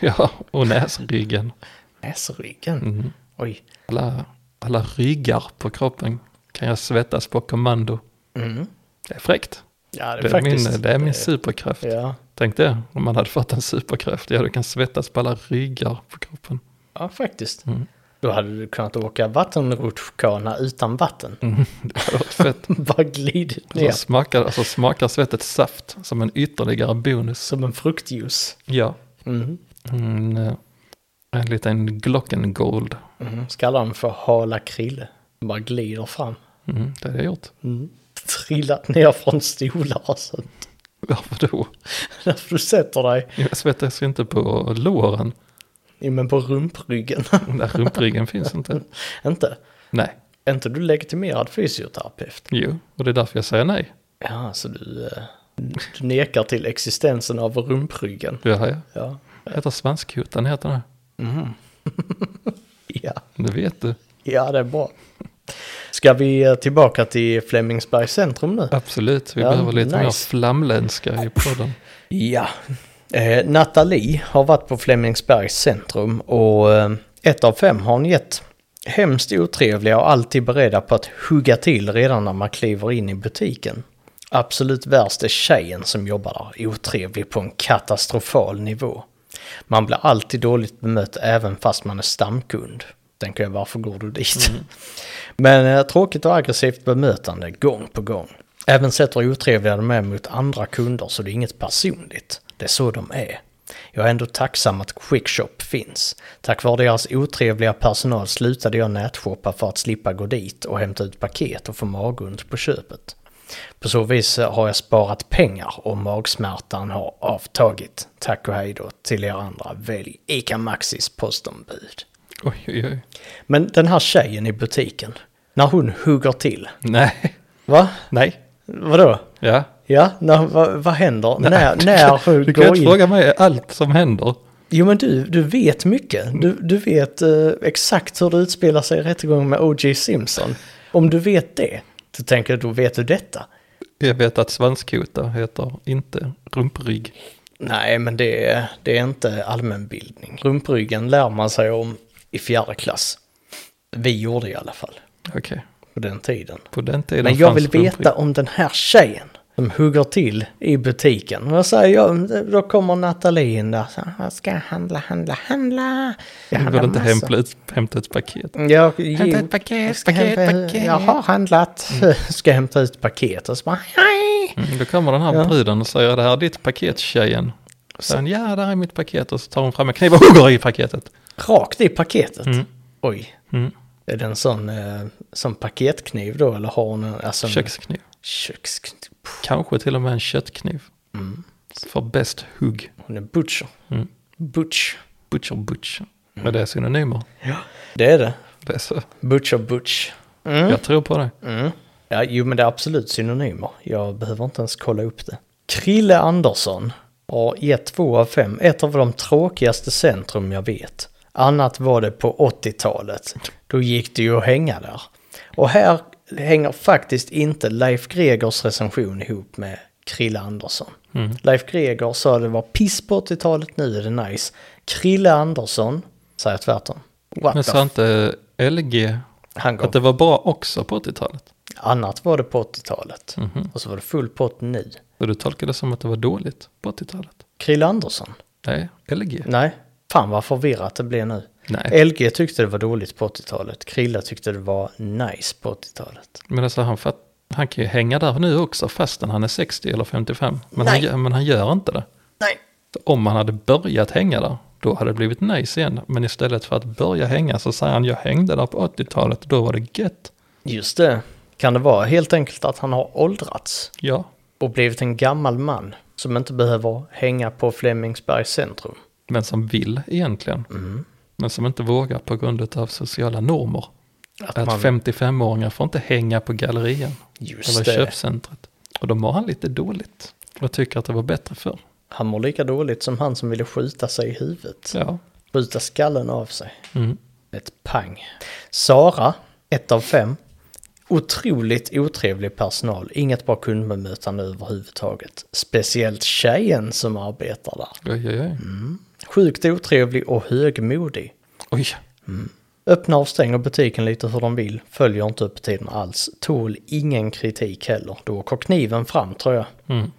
[SPEAKER 1] Ja, och näsryggen.
[SPEAKER 2] Näsryggen.
[SPEAKER 1] Mm.
[SPEAKER 2] Oj.
[SPEAKER 1] Alla, alla ryggar på kroppen kan jag svettas på kommando.
[SPEAKER 2] Mm.
[SPEAKER 1] Det är fräckt.
[SPEAKER 2] Ja, det är
[SPEAKER 1] Det är
[SPEAKER 2] faktiskt... eh,
[SPEAKER 1] min, det är min superkraft.
[SPEAKER 2] Ja.
[SPEAKER 1] Tänk det, om man hade fått en superkraft. Ja, du kan svettas på alla ryggar på kroppen.
[SPEAKER 2] ja, faktiskt.
[SPEAKER 1] Mm.
[SPEAKER 2] Då hade du kunnat åka vattenrutschkana utan vatten.
[SPEAKER 1] Det hade varit fett.
[SPEAKER 2] Bara glidit
[SPEAKER 1] Så
[SPEAKER 2] ner.
[SPEAKER 1] smakar, alltså smakar svettet saft som en ytterligare bonus.
[SPEAKER 2] Som en fruktjuice.
[SPEAKER 1] Ja.
[SPEAKER 2] Mm.
[SPEAKER 1] Mm, eh, en liten Glockengold.
[SPEAKER 2] Mm. Ska alla de för hala krille. Bara glider fram.
[SPEAKER 1] Mm, det hade jag gjort.
[SPEAKER 2] Trillat ner från stolar och sånt.
[SPEAKER 1] Varför då?
[SPEAKER 2] När du sätter dig
[SPEAKER 1] Jag svettas ju inte på låren.
[SPEAKER 2] Jo men på rumpryggen.
[SPEAKER 1] Den där rumpryggen finns inte.
[SPEAKER 2] inte?
[SPEAKER 1] Nej,
[SPEAKER 2] Är inte du legitimerad fysioterapeut?
[SPEAKER 1] jo, och det är därför jag säger nej.
[SPEAKER 2] Ja, så du, eh, du nekar till existensen av rumpryggen.
[SPEAKER 1] Det har jag.
[SPEAKER 2] Ja.
[SPEAKER 1] Jag heter Svanskotan, heter den.
[SPEAKER 2] ja,
[SPEAKER 1] Det vet du.
[SPEAKER 2] ja det är bra. Ska vi eh, tillbaka till Flemingsbergs centrum nu?
[SPEAKER 1] Absolut, vi
[SPEAKER 2] Ja,
[SPEAKER 1] behöver lite mer
[SPEAKER 2] nice.
[SPEAKER 1] flamländska i podden.
[SPEAKER 2] Ja. Eh, Nathalie har varit på Flemingsbergs centrum och eh, ett av fem har hon gett. Hemskt otrevliga och alltid beredda på att hugga till redan när man kliver in i butiken. Absolut värst är tjejen som jobbar där, otrevlig på en katastrofal nivå. Man blir alltid dåligt bemött även fast man är stamkund. Tänker jag, varför går du dit? Men eh, tråkigt och aggressivt bemötande gång på gång. Även sätter otrevliga de är mot andra kunder så det är inget personligt. Det är så de är. Jag är ändå tacksam att Quickshop finns. Tack vare deras otrevliga personal slutade jag nätshoppa för att slippa gå dit och hämta ut paket och få magont på köpet. På så vis eh, har jag sparat pengar och magsmärtan har avtagit. Tack och hej då till er andra. Välj ICA Maxis postombud.
[SPEAKER 1] Oj, oj, oj.
[SPEAKER 2] Men den här tjejen i butiken, när hon hugger till.
[SPEAKER 1] Nej.
[SPEAKER 2] Va?
[SPEAKER 1] Nej.
[SPEAKER 2] Vadå?
[SPEAKER 1] Ja.
[SPEAKER 2] Ja, när, va, vad händer? När, när hon
[SPEAKER 1] Du kan ju
[SPEAKER 2] går
[SPEAKER 1] inte
[SPEAKER 2] in?
[SPEAKER 1] fråga mig allt som händer.
[SPEAKER 2] Jo men du, du vet mycket. Du, du vet eh, exakt hur det utspelar sig i rättegången med O.J. Simpson. Om du vet det, så tänker jag då vet du detta.
[SPEAKER 1] Jag vet att svanskota heter inte rumprygg.
[SPEAKER 2] Nej, men det är, det är inte allmänbildning. Rumpryggen lär man sig om i fjärde klass. Vi gjorde i alla fall,
[SPEAKER 1] Okej.
[SPEAKER 2] på den tiden.
[SPEAKER 1] På den tiden
[SPEAKER 2] Men jag
[SPEAKER 1] fanns
[SPEAKER 2] vill veta
[SPEAKER 1] rumprygg.
[SPEAKER 2] om den här tjejen som hugger till i butiken. Och jag säger, ja, då kommer Nathalie in där. Så, jag ska handla, handla, handla. Jag
[SPEAKER 1] Du vill inte hämta
[SPEAKER 2] alltså.
[SPEAKER 1] ut, hämta ut paket.
[SPEAKER 2] Jag, hämta
[SPEAKER 4] ett paket,
[SPEAKER 2] jag ska
[SPEAKER 4] paket,
[SPEAKER 2] hämta,
[SPEAKER 4] paket.
[SPEAKER 2] Jag har handlat. Ska hämta ut paket och så bara, hej!
[SPEAKER 1] Mm, då kommer den här
[SPEAKER 2] Ja.
[SPEAKER 1] bruden och säger det här är ditt paket tjejen. Och sen ja, där är mitt paket och så tar hon fram en kniv och hugger i paketet.
[SPEAKER 2] Mm. Rakt i paketet. Oj.
[SPEAKER 1] Mm.
[SPEAKER 2] Är det en sån, eh, sån paketkniv då eller har hon en... Alltså, en-
[SPEAKER 1] Kökskniv.
[SPEAKER 2] Kökskniv. Puh,
[SPEAKER 1] Kanske till och med en köttkniv.
[SPEAKER 2] Mm.
[SPEAKER 1] För bäst hugg.
[SPEAKER 2] Hon är butcher.
[SPEAKER 1] Mm.
[SPEAKER 2] Butch.
[SPEAKER 1] Butcher butcher.
[SPEAKER 2] Mm.
[SPEAKER 1] Men det är synonymer.
[SPEAKER 2] Det är det.
[SPEAKER 1] Det är så.
[SPEAKER 2] Butcher, butch. Mm.
[SPEAKER 1] Jag tror på det.
[SPEAKER 2] Mm. Ja, jo, men det är absolut synonymer. Jag behöver inte ens kolla upp det. Krille Andersson har gett två av fem. Ett av de tråkigaste centrum jag vet. Annat var det på 80-talet. Då gick det ju att hänga där. Och här hänger faktiskt inte Leif Gregors recension ihop med Krille Andersson.
[SPEAKER 1] Mm.
[SPEAKER 2] Leif Greger sa det var piss på 80-talet, nu är det nice. Krille Andersson säger tvärtom. What
[SPEAKER 1] Men
[SPEAKER 2] the
[SPEAKER 1] sa
[SPEAKER 2] f-
[SPEAKER 1] inte LG
[SPEAKER 2] Han går
[SPEAKER 1] att det var bra också på 80-talet?
[SPEAKER 2] Annat var det på 80-talet.
[SPEAKER 1] Mhm.
[SPEAKER 2] Och så var det full pott nu.
[SPEAKER 1] Så du tolkade det som att det var dåligt på 80-talet?
[SPEAKER 2] Krille Andersson?
[SPEAKER 1] Nej, LG.
[SPEAKER 2] Nej. Fan vad förvirrat det blev nu.
[SPEAKER 1] Nej.
[SPEAKER 2] LG tyckte det var dåligt på 80-talet. Krille tyckte det var nice på 80-talet.
[SPEAKER 1] Men alltså han, fatt, han kan ju hänga där nu också fastän han är 60 eller 55. Men, han,
[SPEAKER 2] Nej.
[SPEAKER 1] gör- men han gör inte det.
[SPEAKER 2] Nej.
[SPEAKER 1] Om han hade börjat hänga där, då hade det blivit nice igen. Men istället för att börja hänga så säger han jag hängde där på 80-talet, då var det gött.
[SPEAKER 2] Just det. Kan det vara helt enkelt att han har åldrats
[SPEAKER 1] Ja,
[SPEAKER 2] och blivit en gammal man som inte behöver hänga på Flemingsbergs centrum?
[SPEAKER 1] men som vill egentligen.
[SPEAKER 2] Mm.
[SPEAKER 1] Men som inte vågar på grund av sociala normer.
[SPEAKER 2] Att
[SPEAKER 1] Att,
[SPEAKER 2] man-
[SPEAKER 1] 55-åringar får inte hänga på gallerian eller
[SPEAKER 2] Just
[SPEAKER 1] i
[SPEAKER 2] det.
[SPEAKER 1] köpcentret. Och då mår han lite dåligt och tycker att det var bättre förr.
[SPEAKER 2] Han mår lika dåligt som han som ville skjuta sig i huvudet.
[SPEAKER 1] Ja,
[SPEAKER 2] Skjuta skallen av sig.
[SPEAKER 1] mm.
[SPEAKER 2] Ett pang. Sara, ett av fem. Otroligt otrevlig personal, inget bra kundbemötande överhuvudtaget. Speciellt tjejen som arbetar där.
[SPEAKER 1] oj, oj, oj.
[SPEAKER 2] Sjukt otrevlig och högmodig.
[SPEAKER 1] oj.
[SPEAKER 2] Öppnar och stänger butiken lite hur de vill, följer inte öppettiderna alls, tål ingen kritik heller. Då åker kniven fram tror jag.
[SPEAKER 1] Mm.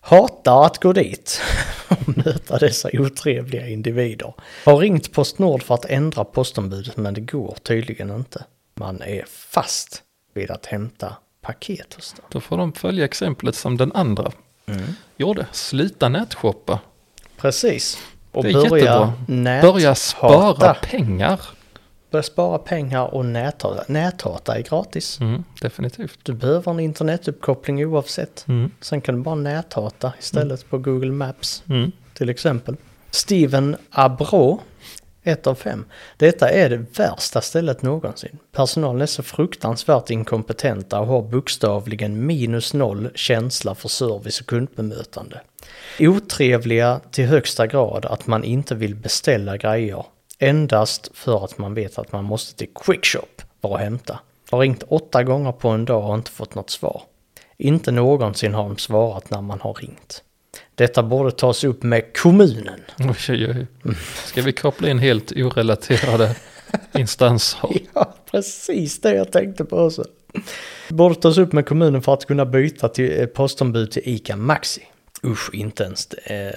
[SPEAKER 2] Hatar att gå dit och möta dessa otrevliga individer. Har ringt Postnord för att ändra postombudet men det går tydligen inte. Man är fast vid att hämta paket hos dem.
[SPEAKER 1] Då får de följa exemplet som den andra
[SPEAKER 2] Mm.
[SPEAKER 1] gjorde. Sluta nätshoppa.
[SPEAKER 2] Precis. Och
[SPEAKER 1] Det är jättebra.
[SPEAKER 2] näthata.
[SPEAKER 1] Börja spara pengar.
[SPEAKER 2] Börja spara pengar och näthata. Näthata är gratis.
[SPEAKER 1] Mm, definitivt.
[SPEAKER 2] Du behöver en internetuppkoppling oavsett.
[SPEAKER 1] Mm.
[SPEAKER 2] Sen kan du bara näthata istället på Google Maps.
[SPEAKER 1] Mm.
[SPEAKER 2] till exempel. Steven Abro, 1 av 5. Detta är det värsta stället någonsin. Personalen är så fruktansvärt inkompetenta och har bokstavligen minus noll känsla för service och kundbemötande. Otrevliga till högsta grad att man inte vill beställa grejer endast för att man vet att man måste till Quickshop för att hämta. Har ringt åtta gånger på en dag och inte fått något svar. Inte någonsin har de svarat när man har ringt. Detta borde tas upp med kommunen.
[SPEAKER 1] Oj, oj, oj. Ska vi koppla in helt orelaterade instanser?
[SPEAKER 2] Ja, precis det jag tänkte på också. Borde tas upp med kommunen för att kunna byta till eh, postombud till ICA Maxi. Usch, inte ens eh,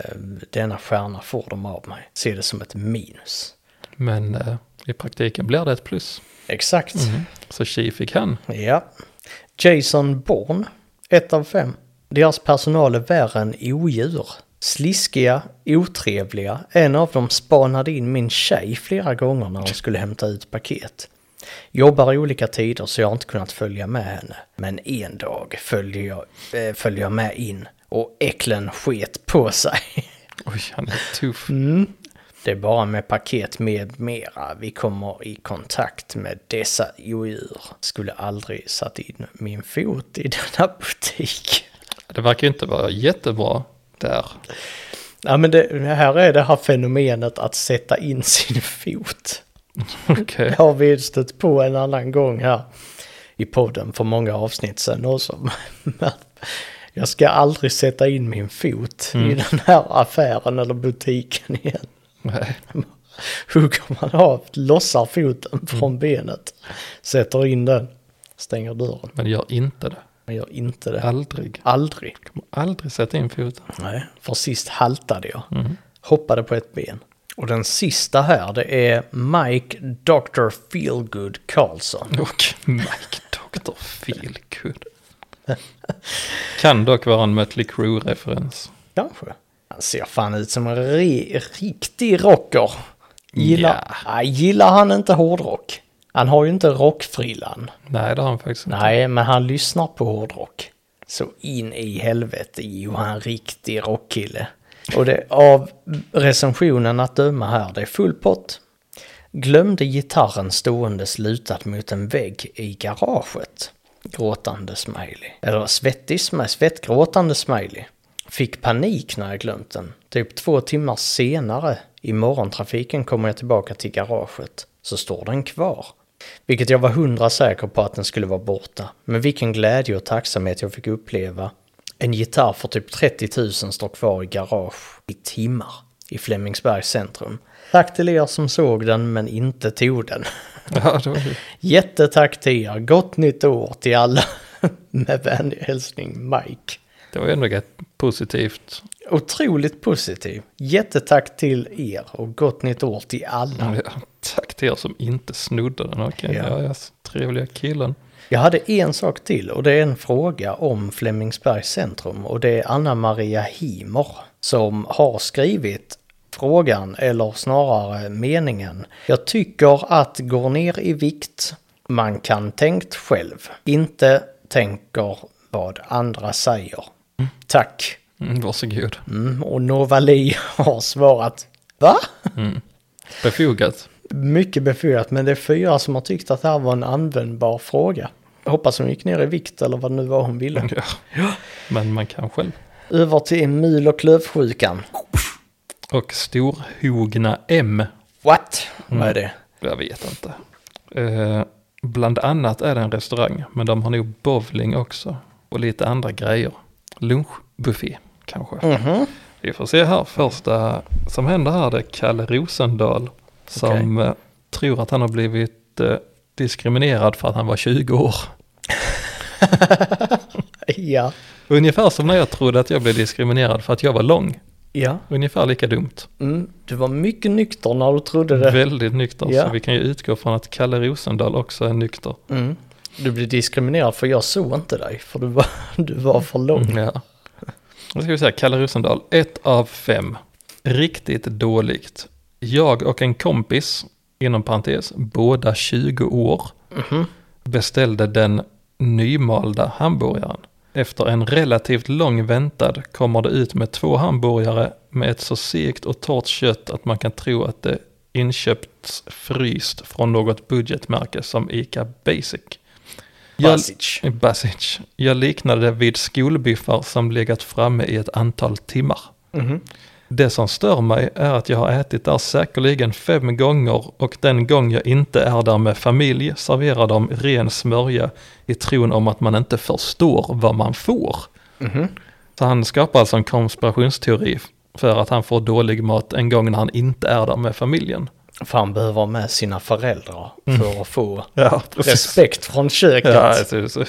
[SPEAKER 2] denna stjärna får de av mig. Ser det som ett minus.
[SPEAKER 1] Men eh, i praktiken blir det ett plus.
[SPEAKER 2] Exakt.
[SPEAKER 1] Så tji fick han.
[SPEAKER 2] Ja. Jason Bourne, 1 av 5. Deras personal är värre än odjur. Sliskiga, otrevliga. En av dem spanade in min tjej flera gånger när hon skulle hämta ut paket. Jobbar i olika tider så jag har inte kunnat följa med henne. Men en dag följer jag, eh, följer jag med in och äcklen sket på sig.
[SPEAKER 1] Oj, han är tuff.
[SPEAKER 2] Mm. Det är bara med paket med mera vi kommer i kontakt med dessa odjur. Skulle aldrig satt in min fot i denna butik.
[SPEAKER 1] Det verkar ju inte vara jättebra där.
[SPEAKER 2] Ja men det, här är det här fenomenet att sätta in sin fot.
[SPEAKER 1] Okej.
[SPEAKER 2] Det har vi stött på en annan gång här i podden för många avsnitt sedan också. Men jag ska aldrig sätta in min fot i den här affären eller butiken igen.
[SPEAKER 1] Nej.
[SPEAKER 2] hugger man av, lossar foten från benet, sätter in den, stänger dörren.
[SPEAKER 1] Men gör inte det.
[SPEAKER 2] Man gör inte det.
[SPEAKER 1] Aldrig.
[SPEAKER 2] Aldrig.
[SPEAKER 1] Kommer aldrig sätta in foten.
[SPEAKER 2] Nej. Mm. För sist haltade jag. Hoppade på ett ben. Och den sista här, det är Mike Dr. Feelgood Carlson.
[SPEAKER 1] Och Mike Dr. Feelgood. Kan dock vara en Mötley Crüe-referens.
[SPEAKER 2] Kanske. Han ser fan ut som en ri- riktig rocker. Gillar, Nej, gillar han inte hårdrock? Han har ju inte rockfrillan.
[SPEAKER 1] Nej, det har han faktiskt inte.
[SPEAKER 2] Nej, men han lyssnar på hårdrock. Så in i helvete, jo han riktig rockkille. Och det av recensionen att döma här, det är full pott. Glömde gitarren ståendes lutad mot en vägg i garaget. Gråtande smiley. Eller svettig smiley, svettgråtande smiley. Fick panik när jag glömt den. Typ två timmar senare i morgontrafiken kommer jag tillbaka till garaget. Så står den kvar. Vilket jag var hundra säker på att den skulle vara borta. Men vilken glädje och tacksamhet jag fick uppleva. En gitarr för typ 30 000 står kvar i garage i timmar i Flemingsbergs centrum. Tack till er som såg den men inte tog den.
[SPEAKER 1] Ja, det var ju...
[SPEAKER 2] Jättetack till er, gott nytt år till alla. Med vänlig hälsning Mike.
[SPEAKER 1] Det var ju ändå rätt positivt.
[SPEAKER 2] Otroligt positiv. Jättetack till er och gott nytt år till alla.
[SPEAKER 1] Ja, tack till er som inte snodde den. Okej,
[SPEAKER 2] Ja.
[SPEAKER 1] ja. ja, så trevliga killen.
[SPEAKER 2] Jag hade en sak till och det är en fråga om Flemingsbergs centrum och det är Anna Maria Himer som har skrivit frågan eller snarare meningen. Jag tycker att går ner i vikt, man kan tänkt själv, inte tänker vad andra säger. Tack.
[SPEAKER 1] Mm, varsågod.
[SPEAKER 2] Mm, och Novali har svarat Va?
[SPEAKER 1] Befogat.
[SPEAKER 2] Mycket befogat, men det är fyra som har tyckt att det här var en användbar fråga. Jag hoppas hon gick ner i vikt eller vad det nu var hon ville.
[SPEAKER 1] Ja. Men man kan själv.
[SPEAKER 2] Över till mul och klövsjukan.
[SPEAKER 1] Och storhogna M.
[SPEAKER 2] What?
[SPEAKER 1] Mm.
[SPEAKER 2] Vad är det?
[SPEAKER 1] Jag vet inte. Eh, bland annat är det en restaurang, men de har nog bowling också. Och lite andra grejer. Lunchbuffé kanske.
[SPEAKER 2] Mhm.
[SPEAKER 1] Vi får se här. Första som händer här det är Kalle Rosendahl. Som eh, tror att han har blivit eh, diskriminerad för att han var 20 år.
[SPEAKER 2] Ja.
[SPEAKER 1] Ungefär som när jag trodde att jag blev diskriminerad för att jag var lång.
[SPEAKER 2] Ja.
[SPEAKER 1] Ungefär lika dumt.
[SPEAKER 2] Mm. Du var mycket nykter när du trodde det.
[SPEAKER 1] Väldigt nykter.
[SPEAKER 2] Ja.
[SPEAKER 1] Så vi kan ju utgå från att Kalle Rosendahl också är nykter.
[SPEAKER 2] Mm. Du blev diskriminerad för jag såg inte dig, för du var, du var för lång.
[SPEAKER 1] Mm, Ja. Nu ska vi säga Kalle Rosendahl, ett av fem. Riktigt dåligt. Jag och en kompis, inom parentes, båda 20 år, beställde den nymalda hamburgaren. Efter en relativt lång väntan kommer det ut med två hamburgare med ett så segt och torrt kött att man kan tro att det inköpts fryst från något budgetmärke som ICA Basic. Jag-
[SPEAKER 2] Basic.
[SPEAKER 1] i Basic. Jag liknade det vid skolbiffar som legat framme i ett antal timmar. Det som stör mig är att jag har ätit där säkerligen fem gånger och den gång jag inte är där med familj serverar de ren smörja i tron om att man inte förstår vad man får. Så han skapar alltså en konspirationsteori för att han får dålig mat en gång när han inte är där med familjen.
[SPEAKER 2] För han behöver ha med sina föräldrar för att få
[SPEAKER 1] Ja,
[SPEAKER 2] respekt från köket.
[SPEAKER 1] Mm. Ja, alltså, så-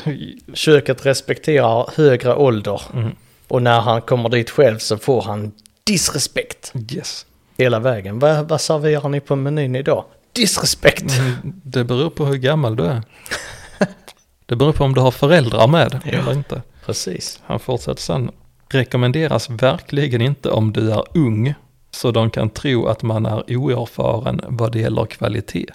[SPEAKER 2] Köket respekterar högre ålder.
[SPEAKER 1] Mm.
[SPEAKER 2] Och när han kommer dit själv så får han disrespekt
[SPEAKER 1] yes.
[SPEAKER 2] hela vägen. Vad, vad serverar ni på menyn idag? Disrespekt!
[SPEAKER 1] Mm. Det beror på hur gammal du är. Det beror på om du har föräldrar med eller inte.
[SPEAKER 2] Precis.
[SPEAKER 1] Han fortsätter sen. Rekommenderas verkligen inte om du är ung, så de kan tro att man är oerfaren vad det gäller kvalitet.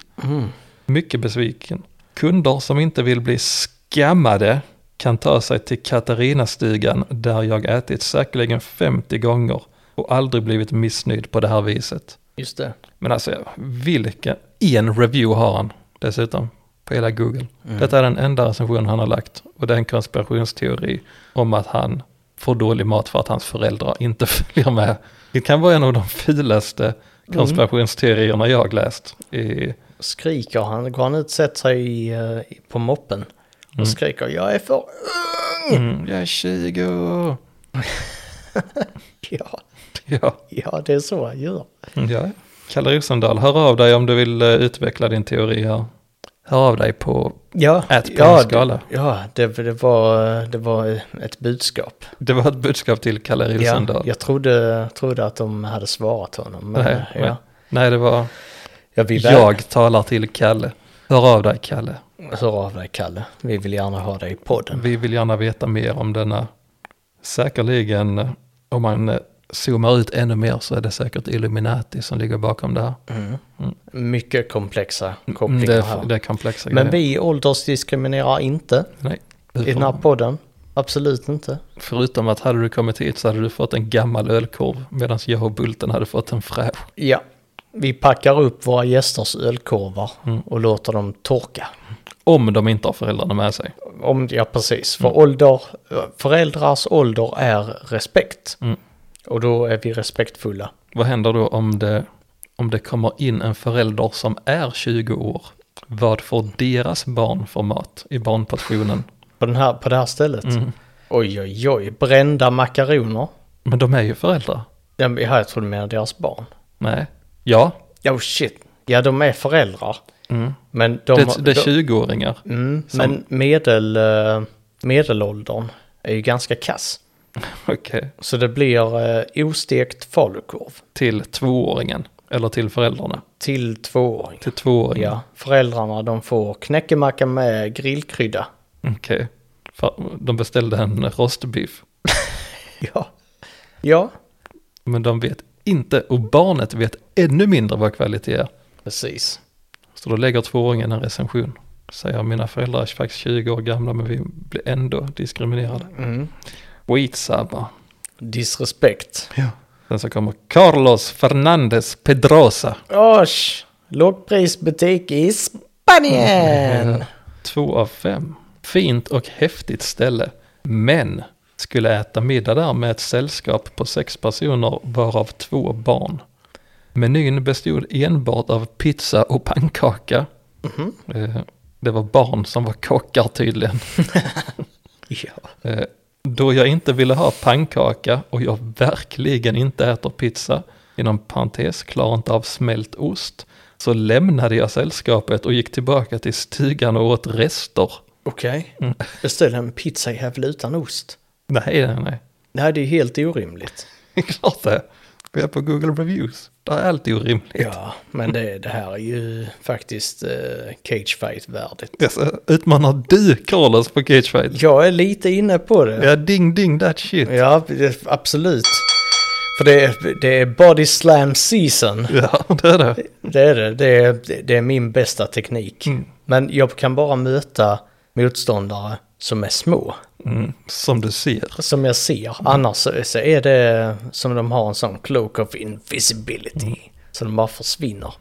[SPEAKER 1] Mycket besviken. Kunder som inte vill bli skammade kan ta sig till Katarinastugan där jag ätit säkerligen 50 gånger och aldrig blivit missnöjd på det här viset.
[SPEAKER 2] Just det.
[SPEAKER 1] Men alltså, vilken... En review har han dessutom på hela Google.
[SPEAKER 2] Mm.
[SPEAKER 1] Detta är den enda recension han har lagt och det är en konspirationsteori om att han får dålig mat för att hans föräldrar inte följer med. Det kan vara en av de fulaste
[SPEAKER 2] Mm.
[SPEAKER 1] konspirationsteorierna jag läst. I,
[SPEAKER 2] Skriker han, går han ut och sätter sig i, eh, på moppen och
[SPEAKER 1] Mm.
[SPEAKER 2] skriker jag är för...
[SPEAKER 1] mm, jag är 20!
[SPEAKER 2] Ja,
[SPEAKER 1] Ja,
[SPEAKER 2] ja, det är så han gör.
[SPEAKER 1] Mm, ja. Kalle Rosendal, hör av dig om du vill eh, utveckla din teori här. Hör av dig på
[SPEAKER 2] Ja,
[SPEAKER 1] Ät på
[SPEAKER 2] ja,
[SPEAKER 1] en skala.
[SPEAKER 2] det- Ja, det, det, var, eh, det var ett budskap.
[SPEAKER 1] Det var ett budskap till Kalle
[SPEAKER 2] Ja,
[SPEAKER 1] Rosendal.
[SPEAKER 2] jag trodde, trodde att de hade svarat honom. Men,
[SPEAKER 1] Nej,
[SPEAKER 2] eh,
[SPEAKER 1] nej.
[SPEAKER 2] ja,
[SPEAKER 1] Nej, det var
[SPEAKER 2] jag vill jag.
[SPEAKER 1] jag talar till Kalle. Hör av dig Kalle.
[SPEAKER 2] Hör av dig Kalle, vi vill gärna ha dig i podden.
[SPEAKER 1] Vi vill gärna veta mer om denna. Säkerligen, eh, om man eh, zoomar ut ännu mer så är det säkert Illuminati som ligger bakom det här.
[SPEAKER 2] Mycket komplexa
[SPEAKER 1] Mm,
[SPEAKER 2] kopplingar
[SPEAKER 1] det, är,
[SPEAKER 2] här.
[SPEAKER 1] det är komplexa
[SPEAKER 2] Men
[SPEAKER 1] grejer.
[SPEAKER 2] vi åldersdiskriminerar inte
[SPEAKER 1] Nej.
[SPEAKER 2] i den här
[SPEAKER 1] För,
[SPEAKER 2] podden. Absolut inte.
[SPEAKER 1] förutom att hade du kommit hit så hade du fått en gammal ölkorv medan jag och Bulten hade fått en fräsch.
[SPEAKER 2] Ja, vi packar upp våra gästers ölkorvar
[SPEAKER 1] Mm.
[SPEAKER 2] och låter dem torka.
[SPEAKER 1] Om de inte har föräldrarna med sig.
[SPEAKER 2] Om, ja, precis.
[SPEAKER 1] Mm.
[SPEAKER 2] För ålder, föräldrars ålder är respekt.
[SPEAKER 1] Mm.
[SPEAKER 2] Och då är vi respektfulla.
[SPEAKER 1] Vad händer då om det, om det kommer in en förälder som är 20 år? Vad får deras barn för mat i barnportionen?
[SPEAKER 2] På, den här, på det här stället.
[SPEAKER 1] Mm.
[SPEAKER 2] Oj, oj, oj. Brända makaroner.
[SPEAKER 1] Men de är ju föräldrar.
[SPEAKER 2] Ja, men Jag tror du menar deras barn.
[SPEAKER 1] Nej. Ja,
[SPEAKER 2] Ja, oh, shit. Ja, de är föräldrar. Men de,
[SPEAKER 1] Mm. det, det är
[SPEAKER 2] de-
[SPEAKER 1] 20-åringar.
[SPEAKER 2] Mm, men medel, eh, medelåldern är ju ganska kass.
[SPEAKER 1] Okej.
[SPEAKER 2] Så det blir eh, ostekt falukorv
[SPEAKER 1] Till tvååringen. Eller till föräldrarna.
[SPEAKER 2] till tvååring.
[SPEAKER 1] Till tvååringen.
[SPEAKER 2] Ja, föräldrarna de får knäckemacka med grillkrydda.
[SPEAKER 1] Okej. För De beställde en rostbiff.
[SPEAKER 2] Ja. ja,
[SPEAKER 1] Men de vet inte, och barnet vet ännu mindre vad kvalitet är.
[SPEAKER 2] precis.
[SPEAKER 1] Så då lägger tvååringen en recension. Säger mina föräldrar är faktiskt 20 år gamla men vi blir ändå diskriminerade.
[SPEAKER 2] Mm.
[SPEAKER 1] Skitsamma.
[SPEAKER 2] Disrespekt.
[SPEAKER 1] Sen så kommer Carlos Fernandez Pedrosa.
[SPEAKER 2] Osh, lågprisbutik i Spanien!
[SPEAKER 1] Två av fem. Fint och häftigt ställe. Men skulle äta middag där med ett sällskap på sex personer varav två barn. Menyn bestod enbart av pizza och pannkaka. Eh, Det var barn som var kockar tydligen.
[SPEAKER 2] Ja.
[SPEAKER 1] Eh, Då jag inte ville ha pannkaka och jag verkligen inte äter pizza, inom parentes, klarar inte av smält ost, så lämnade jag sällskapet och gick tillbaka till stugan och åt rester.
[SPEAKER 2] Okej. Beställ en pizzajävel utan ost.
[SPEAKER 1] Nej, nej, nej.
[SPEAKER 2] Nej, det är helt orimligt.
[SPEAKER 1] Det är klart det. Vi är på Google Reviews. Det är alltid orimligt.
[SPEAKER 2] Ja, men det, det här är ju faktiskt eh, cagefight-värdigt.
[SPEAKER 1] Alltså, utmanar du Carlos på Cagefight?
[SPEAKER 2] Jag är lite inne på det.
[SPEAKER 1] Ja, ding ding that shit.
[SPEAKER 2] Ja, det- absolut. För det är, det är body slam season.
[SPEAKER 1] Ja, det är det.
[SPEAKER 2] Det är det. Det är, det är min bästa teknik.
[SPEAKER 1] Mm.
[SPEAKER 2] Men jag kan bara möta motståndare som är små.
[SPEAKER 1] Mm, som du ser.
[SPEAKER 2] Som jag ser.
[SPEAKER 1] Mm.
[SPEAKER 2] Annars så- så är det som de har en sån cloak of invisibility.
[SPEAKER 1] Mm.
[SPEAKER 2] Så de bara försvinner.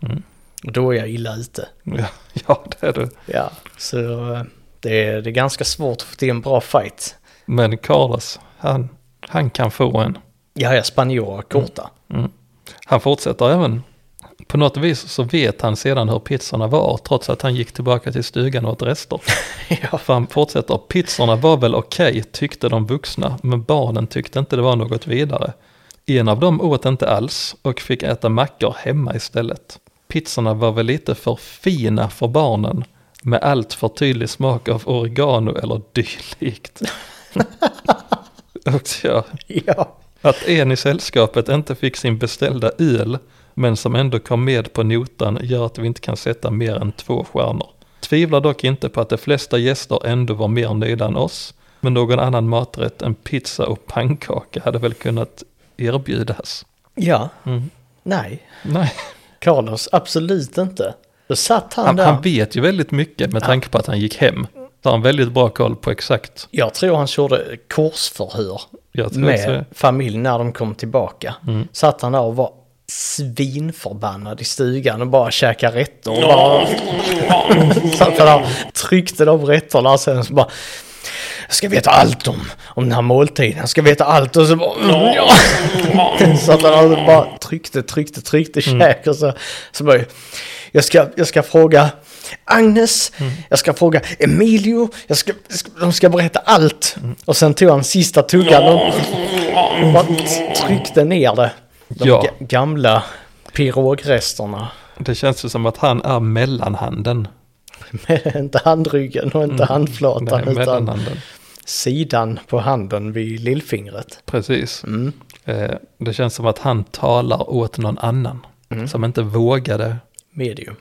[SPEAKER 2] Och då är jag illa ute.
[SPEAKER 1] Ja, ja, det är du.
[SPEAKER 2] Ja, så eh, det är, det är ganska svårt att få till en bra fight.
[SPEAKER 1] Men Carlos, han, han kan få en.
[SPEAKER 2] Ja, ja, spanjorer
[SPEAKER 1] Mm.
[SPEAKER 2] korta.
[SPEAKER 1] Han fortsätter även. På något vis så vet han sedan hur pizzorna var, trots att han gick tillbaka till stugan och åt rester.
[SPEAKER 2] Ja.
[SPEAKER 1] För han fortsätter, pizzorna var väl okej, tyckte de vuxna, men barnen tyckte inte det var något vidare. En av dem åt inte alls och fick äta mackor hemma istället. Pizzorna var väl lite för fina för barnen, med allt för tydlig smak av oregano eller dylikt. och ja,
[SPEAKER 2] Ja.
[SPEAKER 1] att en i sällskapet inte fick sin beställda öl, men som ändå kom med på notan gör att vi inte kan sätta mer än två stjärnor. Tvivlar dock inte på att de flesta gäster ändå var mer nöjda än oss, men någon annan maträtt än pizza och pannkaka hade väl kunnat erbjudas.
[SPEAKER 2] Ja.
[SPEAKER 1] Mm.
[SPEAKER 2] Nej.
[SPEAKER 1] Nej,
[SPEAKER 2] Carlos, absolut inte. Då satt han,
[SPEAKER 1] Han,
[SPEAKER 2] där.
[SPEAKER 1] han vet ju väldigt mycket med tanke på att han gick hem. Så han har väldigt bra koll på exakt.
[SPEAKER 2] Jag tror han körde korsförhör
[SPEAKER 1] Jag tror också
[SPEAKER 2] med
[SPEAKER 1] det. Mm.
[SPEAKER 2] familjen när de kom tillbaka. Satt han där och var svinförbannad i stugan och bara käkade rätter. Och bara... Satt han där och tryckte de rätterna och sen så bara... Jag ska veta allt om, om den här måltiden. Jag ska veta allt och så bara... Så att han hade bara tryckte, tryckte, tryckte
[SPEAKER 1] Mm.
[SPEAKER 2] käk och så. Så bara, jag ska, jag ska fråga Agnes,
[SPEAKER 1] Mm.
[SPEAKER 2] jag ska fråga Emilio, jag ska, ska- de ska berätta allt.
[SPEAKER 1] Mm.
[SPEAKER 2] Och sen tog han sista tuggan och bara tryckte ner det. De
[SPEAKER 1] Ja.
[SPEAKER 2] ga- gamla pirogresterna.
[SPEAKER 1] Det känns ju som att han är mellanhanden.
[SPEAKER 2] Med inte handryggen och inte handflatan
[SPEAKER 1] Mm. Nej,
[SPEAKER 2] utan
[SPEAKER 1] mellanhanden.
[SPEAKER 2] sidan på handen vid lillfingret.
[SPEAKER 1] Precis.
[SPEAKER 2] Mm.
[SPEAKER 1] Eh, det känns som att han talar åt någon annan.
[SPEAKER 2] Mm.
[SPEAKER 1] Som inte vågade
[SPEAKER 2] Medium.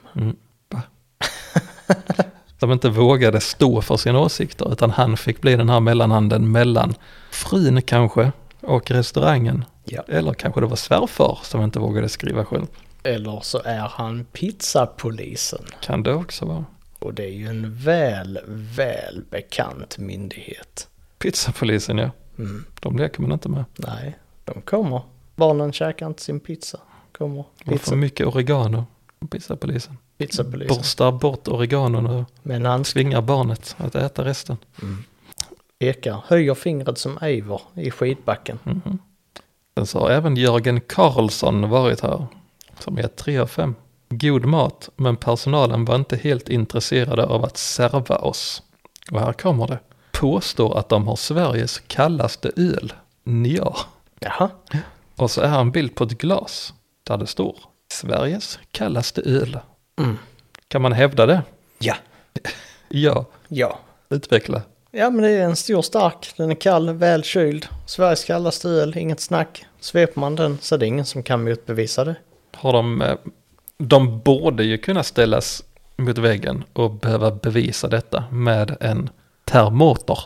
[SPEAKER 1] som inte vågade stå för sina åsikter, utan han fick bli den här mellanhanden mellan frun kanske och restaurangen.
[SPEAKER 2] Ja.
[SPEAKER 1] Eller kanske det var svärfar som inte vågade skriva själv.
[SPEAKER 2] Eller så är han pizzapolisen.
[SPEAKER 1] Kan det också vara.
[SPEAKER 2] Och det är ju en väl, väl bekant myndighet.
[SPEAKER 1] Pizzapolisen ja,
[SPEAKER 2] Mm.
[SPEAKER 1] de leker man inte med.
[SPEAKER 2] Nej, de kommer. Barnen käkar inte sin pizza. Kommer
[SPEAKER 1] Det var för
[SPEAKER 2] pizza,
[SPEAKER 1] mycket oregano. Pizzapolisen.
[SPEAKER 2] pizzapolisen.
[SPEAKER 1] Borstar bort oreganon och
[SPEAKER 2] Med en handsk
[SPEAKER 1] tvingar barnet att äta resten.
[SPEAKER 2] pekar, höjer fingret som Eivor i skidbacken.
[SPEAKER 1] Sen så har även Jörgen Karlsson varit här, som är 3 av 5. God mat, men personalen var inte helt intresserade av att serva oss. Och här kommer det. Påstår att de har Sveriges kallaste öl, Nja.
[SPEAKER 2] Jaha,
[SPEAKER 1] Och så är här en bild på ett glas där det står Sveriges kallaste öl.
[SPEAKER 2] Mm.
[SPEAKER 1] Kan man hävda det?
[SPEAKER 2] ja,
[SPEAKER 1] Ja,
[SPEAKER 2] ja.
[SPEAKER 1] utveckla.
[SPEAKER 2] Ja men det är en stor stark, den är kall, väl kyld. Sveriges kallaste öl, inget snack. Sveper man den så är det ingen som kan motbevisa det.
[SPEAKER 1] Har de, eh, de borde ju kunna ställas mot väggen och behöva bevisa detta med en termometer.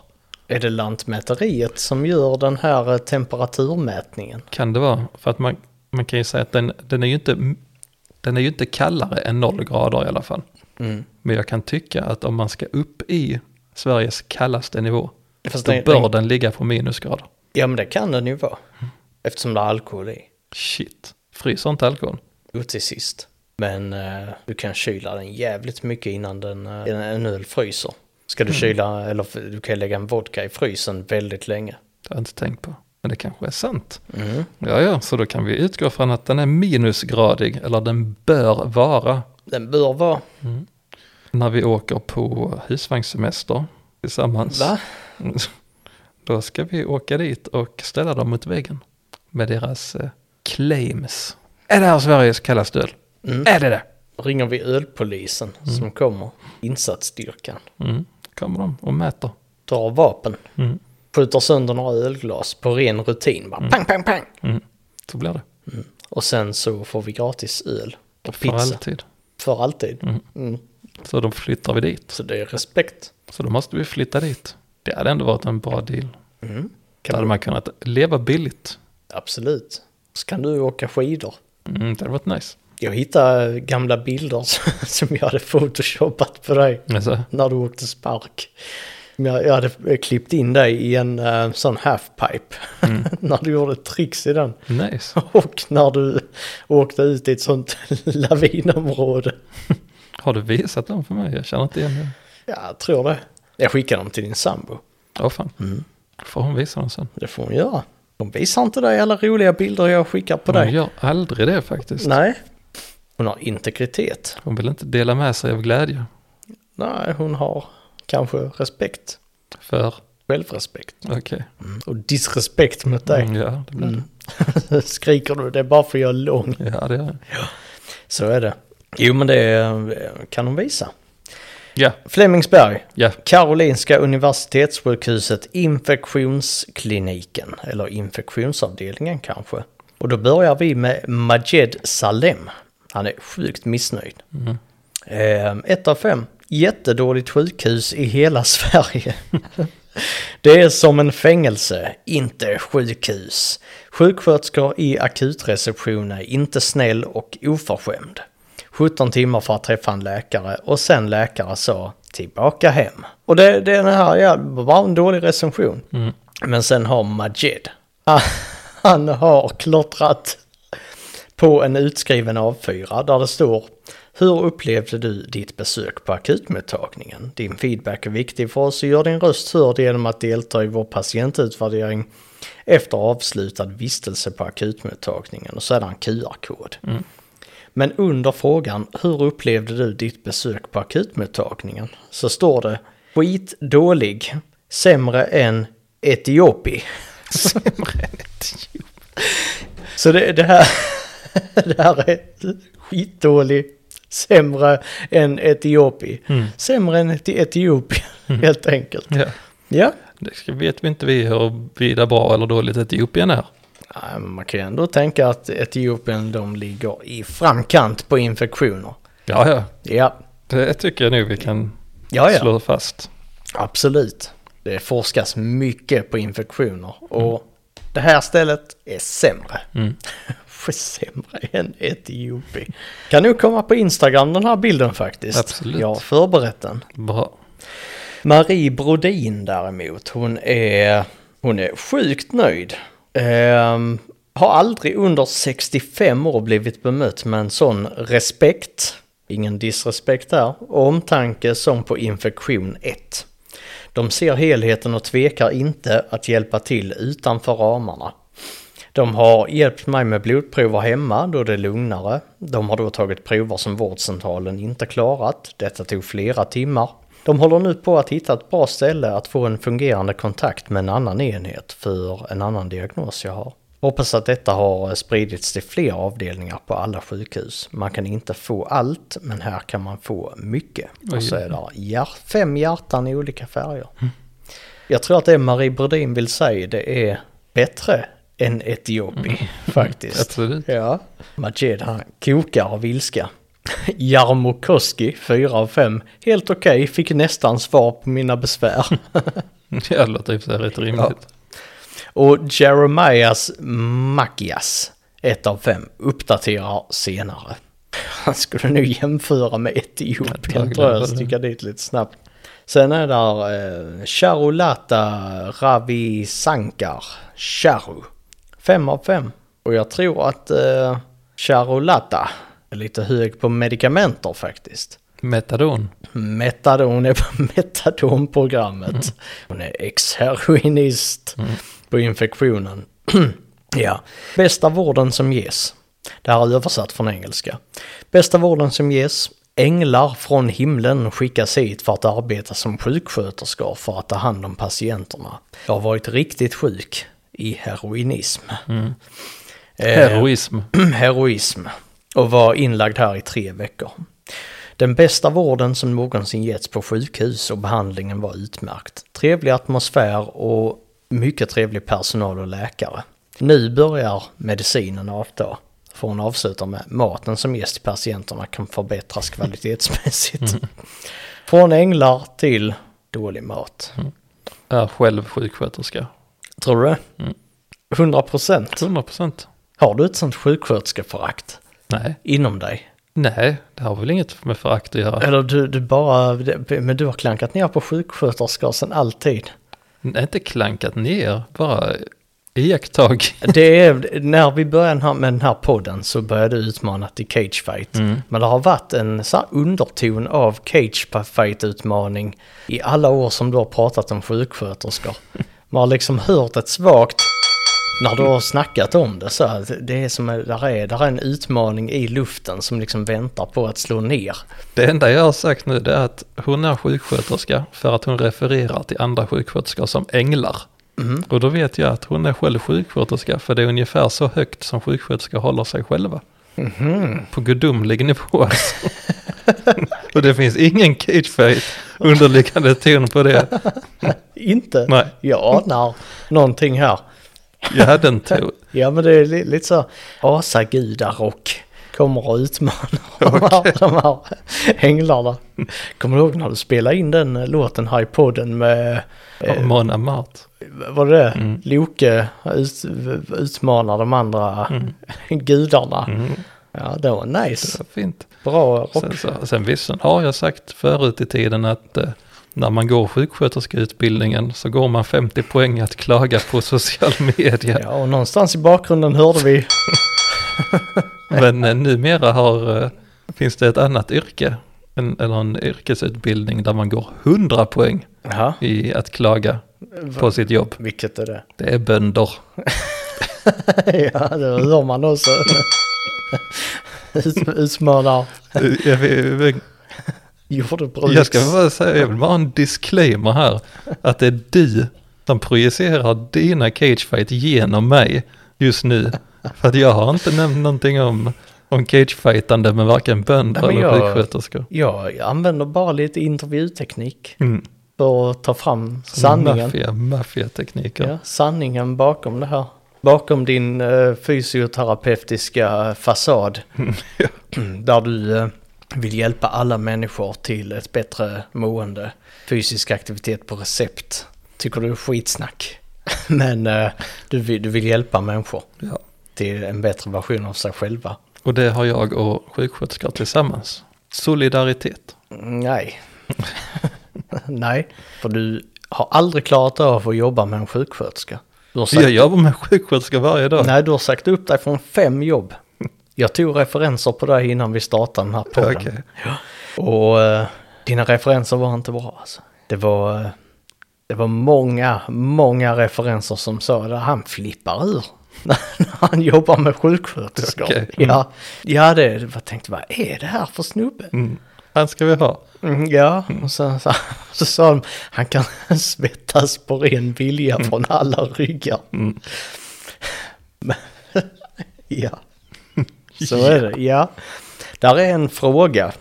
[SPEAKER 2] Är det Lantmäteriet som gör den här eh, temperaturmätningen?
[SPEAKER 1] Kan det vara? För att man, man kan ju säga att den, den, är ju inte, den är ju inte kallare än noll grader i alla fall. Men jag kan tycka att om man ska upp i Sveriges kallaste nivå,
[SPEAKER 2] Fast
[SPEAKER 1] då
[SPEAKER 2] den-
[SPEAKER 1] bör
[SPEAKER 2] den-
[SPEAKER 1] den ligga på minusgrader.
[SPEAKER 2] Ja men det kan den ju vara. Eftersom det är alkohol i.
[SPEAKER 1] Shit, fryser inte alkohol?
[SPEAKER 2] Jo till sist. Men eh, du kan kyla den jävligt mycket innan den, eh, en, en öl fryser. Ska du kyla, eller f- du kan lägga en vodka i frysen väldigt länge.
[SPEAKER 1] Det har jag inte tänkt på. Men det kanske är sant. Ja, ja, så då kan vi utgå från att den är minusgradig, eller den bör vara.
[SPEAKER 2] Den bör vara...
[SPEAKER 1] När vi åker på husvagnssemester tillsammans.
[SPEAKER 2] Va?
[SPEAKER 1] Då ska vi åka dit och ställa dem mot väggen. Med deras eh, claims. Är det här Sveriges kallaste öl? Är det det?
[SPEAKER 2] Ringer vi ölpolisen som kommer. Insatsstyrkan.
[SPEAKER 1] Mm. Kommer de och mäter.
[SPEAKER 2] Drar vapen.
[SPEAKER 1] Mm.
[SPEAKER 2] Skjuter sönder några ölglas på ren rutin. Bara pang, pang, pang.
[SPEAKER 1] Mm. Så blir det.
[SPEAKER 2] Och sen så får vi gratis öl. Och
[SPEAKER 1] För
[SPEAKER 2] pizza.
[SPEAKER 1] alltid.
[SPEAKER 2] För alltid. Mm.
[SPEAKER 1] Så då flyttar vi dit.
[SPEAKER 2] Så det är respekt.
[SPEAKER 1] Så då måste vi flytta dit. Det hade ändå varit en bra deal. Då
[SPEAKER 2] Kan
[SPEAKER 1] hade man kunnat leva billigt.
[SPEAKER 2] Absolut. Så kan du åka skidor.
[SPEAKER 1] Mm, det hade varit nice.
[SPEAKER 2] Jag hittade gamla bilder som- som jag hade photoshopat på dig
[SPEAKER 1] Alltså,
[SPEAKER 2] när du åkte spark. Men Jag jag hade klippt in dig i en eh, sån halfpipe när du gjorde ett tricks i den.
[SPEAKER 1] nice.
[SPEAKER 2] Och när du åkte ut i ett sånt lavinområde.
[SPEAKER 1] Har du visat dem för mig? Jag känner inte igen det.
[SPEAKER 2] Ja, jag tror det. Jag skickade dem till din sambo.
[SPEAKER 1] Åh fan.
[SPEAKER 2] Mm.
[SPEAKER 1] Får hon visa dem sen?
[SPEAKER 2] Det får hon göra. Hon visar inte dig alla roliga bilder jag skickar på
[SPEAKER 1] Hon
[SPEAKER 2] dig.
[SPEAKER 1] gör aldrig det faktiskt.
[SPEAKER 2] Nej. Hon har integritet.
[SPEAKER 1] Hon vill inte dela med sig av glädje.
[SPEAKER 2] Nej, hon har kanske respekt.
[SPEAKER 1] För,
[SPEAKER 2] Självrespekt.
[SPEAKER 1] okej.
[SPEAKER 2] Och disrespekt mot dig.
[SPEAKER 1] Mm, ja, det blir det.
[SPEAKER 2] Skriker du det är bara för jag är lång.
[SPEAKER 1] Ja, det gör jag.
[SPEAKER 2] Så är det. Jo men det eh, kan de visa.
[SPEAKER 1] Ja,
[SPEAKER 2] Flemingsberg.
[SPEAKER 1] ja.
[SPEAKER 2] Karolinska Universitetssjukhuset Infektionskliniken. Eller infektionsavdelningen kanske. Och då börjar vi med Majed Salem. Han är sjukt missnöjd. Eh, ett av fem. Jättedåligt sjukhus i hela Sverige. Det är som en fängelse, inte sjukhus. Sjuksköterskor i akutreception är inte snäll och oförskämd. 17 timmar för att träffa en läkare och sen läkare sa tillbaka hem. Och det, det är den här, ja, bara en dålig recension.
[SPEAKER 1] Mm.
[SPEAKER 2] Men sen har Majid, han, han har klottrat på en utskriven A4 där det står Hur upplevde du ditt besök på akutmottagningen? Din feedback är viktig för oss och gör din röst hörd genom att delta i vår patientutvärdering efter avslutad vistelse på akutmottagningen och sedan QR-kod. Men under frågan hur upplevde du ditt besök på akutmottagningen? Så står det skitdålig, sämre än Etiopi.
[SPEAKER 1] Sämre än ett djur.
[SPEAKER 2] Så det, det, här, det här är skitdålig, sämre än Etiopi.
[SPEAKER 1] Mm.
[SPEAKER 2] Sämre än Eti- Etiopien helt enkelt.
[SPEAKER 1] Ja.
[SPEAKER 2] Ja,
[SPEAKER 1] Det ska- vet vi inte vi huruvida bra eller dåligt Etiopien är.
[SPEAKER 2] Nej, men man kan ju ändå tänka att Etiopien de ligger i framkant på infektioner.
[SPEAKER 1] Ja, ja.
[SPEAKER 2] Ja,
[SPEAKER 1] Det tycker jag nu vi kan
[SPEAKER 2] ja, ja.
[SPEAKER 1] slå fast.
[SPEAKER 2] Absolut. Det forskas mycket på infektioner och det här stället är sämre.
[SPEAKER 1] Mm.
[SPEAKER 2] sämre än Etiopi. Kan nu komma på Instagram den här bilden faktiskt.
[SPEAKER 1] Absolut.
[SPEAKER 2] Jag har förberett den.
[SPEAKER 1] Bra.
[SPEAKER 2] Marie Brodin däremot, hon är, hon är sjukt nöjd. Ehm, har aldrig under 65 år blivit bemött med en sån respekt, ingen disrespekt där, och omtanke som på infektion 1. De ser helheten och tvekar inte att hjälpa till utanför ramarna. De har hjälpt mig med blodprover hemma då det är lugnare. De har då tagit prover som vårdcentralen inte klarat. Detta tog flera timmar. De håller nu på att hitta ett bra ställe att få en fungerande kontakt med en annan enhet för en annan diagnos jag har. Hoppas att detta har eh, spridits till fler avdelningar på alla sjukhus. Man kan inte få allt, men här kan man få mycket.
[SPEAKER 1] Oj.
[SPEAKER 2] Och så är det hjär- fem hjärtan i olika färger. Jag tror att det Marie Brodin vill säga det är bättre än Etiopi faktiskt.
[SPEAKER 1] Absolut.
[SPEAKER 2] Ja. Majid han kokar av vilska. Jarmo Koski, 4 av 5. Helt okej, fick nästan svar på mina besvär.
[SPEAKER 1] Det låter i och för sig rätt rimligt.
[SPEAKER 2] Och Jeremias Makias, 1 av 5, uppdaterar senare. Han skulle nu jämföra med Etiopien
[SPEAKER 1] tack,
[SPEAKER 2] tror
[SPEAKER 1] det
[SPEAKER 2] jag,
[SPEAKER 1] var
[SPEAKER 2] sticka dit lite snabbt. Sen är där eh, Charulata Ravi Sankar, Charu, 5 av 5. Och jag tror att eh, Charulata är lite hög på medikamenter faktiskt.
[SPEAKER 1] Metadon.
[SPEAKER 2] Metadon, hon är på metadonprogrammet. Hon är ex-heroinist på infektionen. ja. Bästa vården som ges. Det här är översatt från engelska. Bästa vården som ges. Änglar från himlen skickas hit för att arbeta som sjuksköterskor för att ta hand om patienterna. Jag har varit riktigt sjuk i heroinism. Eh,
[SPEAKER 1] Heroism.
[SPEAKER 2] heroism och var inlagd här i tre veckor. Den bästa vården som någonsin getts på sjukhus och behandlingen var utmärkt. Trevlig atmosfär och mycket trevlig personal och läkare. Nu börjar medicinen avta. För hon avslutar med maten som ges till patienterna kan förbättras kvalitetsmässigt. Från änglar till dålig mat.
[SPEAKER 1] Är själv sjuksköterska.
[SPEAKER 2] Tror du det? 100 procent.
[SPEAKER 1] 100 procent.
[SPEAKER 2] Har du ett sånt sjuksköterskeförakt
[SPEAKER 1] Nej.
[SPEAKER 2] inom dig?
[SPEAKER 1] Nej, det har väl inget med förakt att göra.
[SPEAKER 2] Eller du, du bara, men du har klankat ner på sjuksköterskor sedan alltid.
[SPEAKER 1] Nej, inte klankat ner, bara iakttag.
[SPEAKER 2] Det är, när vi började den här- med den här podden så började det utmana till cagefight. Men det har varit en sån här underton av cagefight-utmaning i alla år som du har pratat om sjuksköterskor. Man har liksom hört ett svagt, när du har snackat om det så att det är som, där är, där är en utmaning i luften som liksom väntar på att slå ner.
[SPEAKER 1] Det enda jag har sagt nu det är att hon är sjuksköterska för att hon refererar till andra sjuksköterskor som änglar. Och då vet jag att hon är själv sjuksköterska för det är ungefär så högt som sjuksköterskor håller sig själva. På gudomlig nivå alltså. Och det finns ingen cagefight underliggande ton på det.
[SPEAKER 2] Inte?
[SPEAKER 1] Nej.
[SPEAKER 2] Jag anar någonting här.
[SPEAKER 1] Jag hade en ton.
[SPEAKER 2] Ja men det är li- lite så asagudarock kommer och utmanar de, här, de här änglarna. Kommer du ihåg när du spelade in den eh, låten här i podden med,
[SPEAKER 1] av Mona Mart.
[SPEAKER 2] vad det?
[SPEAKER 1] Mm. Mm.
[SPEAKER 2] Loke ut, utmanar de andra gudarna. Ja, det var nice.
[SPEAKER 1] Det var fint.
[SPEAKER 2] Bra
[SPEAKER 1] Mm. Sen,
[SPEAKER 2] rock.
[SPEAKER 1] så, sen visst, sen har jag sagt förut i tiden att eh, när man går sjuksköterskeutbildningen så går man 50 poäng att klaga på social media.
[SPEAKER 2] Ja, och någonstans i bakgrunden hörde vi...
[SPEAKER 1] Men eh, numera har, eh, finns det ett annat yrke, en, eller en yrkesutbildning där man går 100 poäng
[SPEAKER 2] Jaha,
[SPEAKER 1] i att klaga på sitt jobb.
[SPEAKER 2] vilket är det?
[SPEAKER 1] Det är bönder.
[SPEAKER 2] ja, det hör man också. Ut- Utsmörda
[SPEAKER 1] Eh, Jag vill-
[SPEAKER 2] jordbruk.
[SPEAKER 1] jag ska bara säga, jag vill bara ha en disclaimer här. Att det är du som projicerar dina cagefight genom mig just nu. För att jag har inte nämnt någonting om, om cagefightande med varken bönder
[SPEAKER 2] Nej, men
[SPEAKER 1] eller
[SPEAKER 2] jag-
[SPEAKER 1] sjuksköterskor.
[SPEAKER 2] Ja, jag använder bara lite intervjuteknik
[SPEAKER 1] Mm.
[SPEAKER 2] för att ta fram sanningen.
[SPEAKER 1] Maffia, maffiatekniker.
[SPEAKER 2] Ja, sanningen bakom det här. Bakom din eh, fysioterapeutiska fasad.
[SPEAKER 1] Mm, ja.
[SPEAKER 2] Där du eh, vill hjälpa alla människor till ett bättre mående. Fysisk aktivitet på recept. Tycker du är skitsnack. Men eh, du, vill, du vill hjälpa människor
[SPEAKER 1] Ja.
[SPEAKER 2] till en bättre version av sig själva.
[SPEAKER 1] Och det har jag och sjuksköterskor tillsammans. Solidaritet.
[SPEAKER 2] Nej. Nej, för du har aldrig klarat av att jobba med en sjuksköterska. Du har sagt
[SPEAKER 1] Jag jobbar med sjuksköterskor varje dag.
[SPEAKER 2] Nej, du har sagt upp dig från fem jobb. Jag tog referenser på dig innan vi startade den här
[SPEAKER 1] Ja,
[SPEAKER 2] podden.
[SPEAKER 1] Okej.
[SPEAKER 2] Och eh, dina referenser var inte bra alltså. Det var, eh, det var många, många referenser som sa att han flippar ur. När han jobbar med sjuksköterskor.
[SPEAKER 1] Okej, mm.
[SPEAKER 2] Ja, ja det, jag tänkte vad är det här för snubbe?
[SPEAKER 1] Mm. Han ska vi ha.
[SPEAKER 2] Mm, ja, och sen så, så sa de han kan svettas på ren vilja från alla ryggar. Men- ja, så är det. Ja. Där är en fråga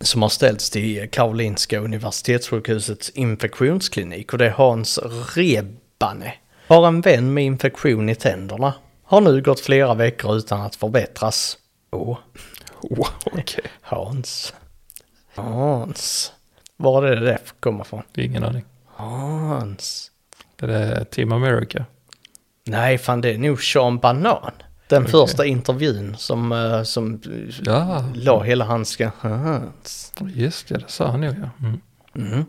[SPEAKER 2] som har ställts till Karolinska Universitetssjukhusets infektionsklinik och det är Hans Rebane. Har en vän med infektion i tänderna. Har nu gått flera veckor utan att förbättras. Åh.
[SPEAKER 1] Oh, Okej.
[SPEAKER 2] Hans. Hans. Var är det det kommer ifrån?
[SPEAKER 1] Ingen aning.
[SPEAKER 2] Hans.
[SPEAKER 1] Det är Team America.
[SPEAKER 2] Nej, fan det är nog Sean Banan. Den
[SPEAKER 1] Okej.
[SPEAKER 2] första intervjun som, eh, som ja.
[SPEAKER 1] Ja,
[SPEAKER 2] la hela handsken. Hans.
[SPEAKER 1] just det. Det sa han ju. Ja. Mm.
[SPEAKER 2] Mm.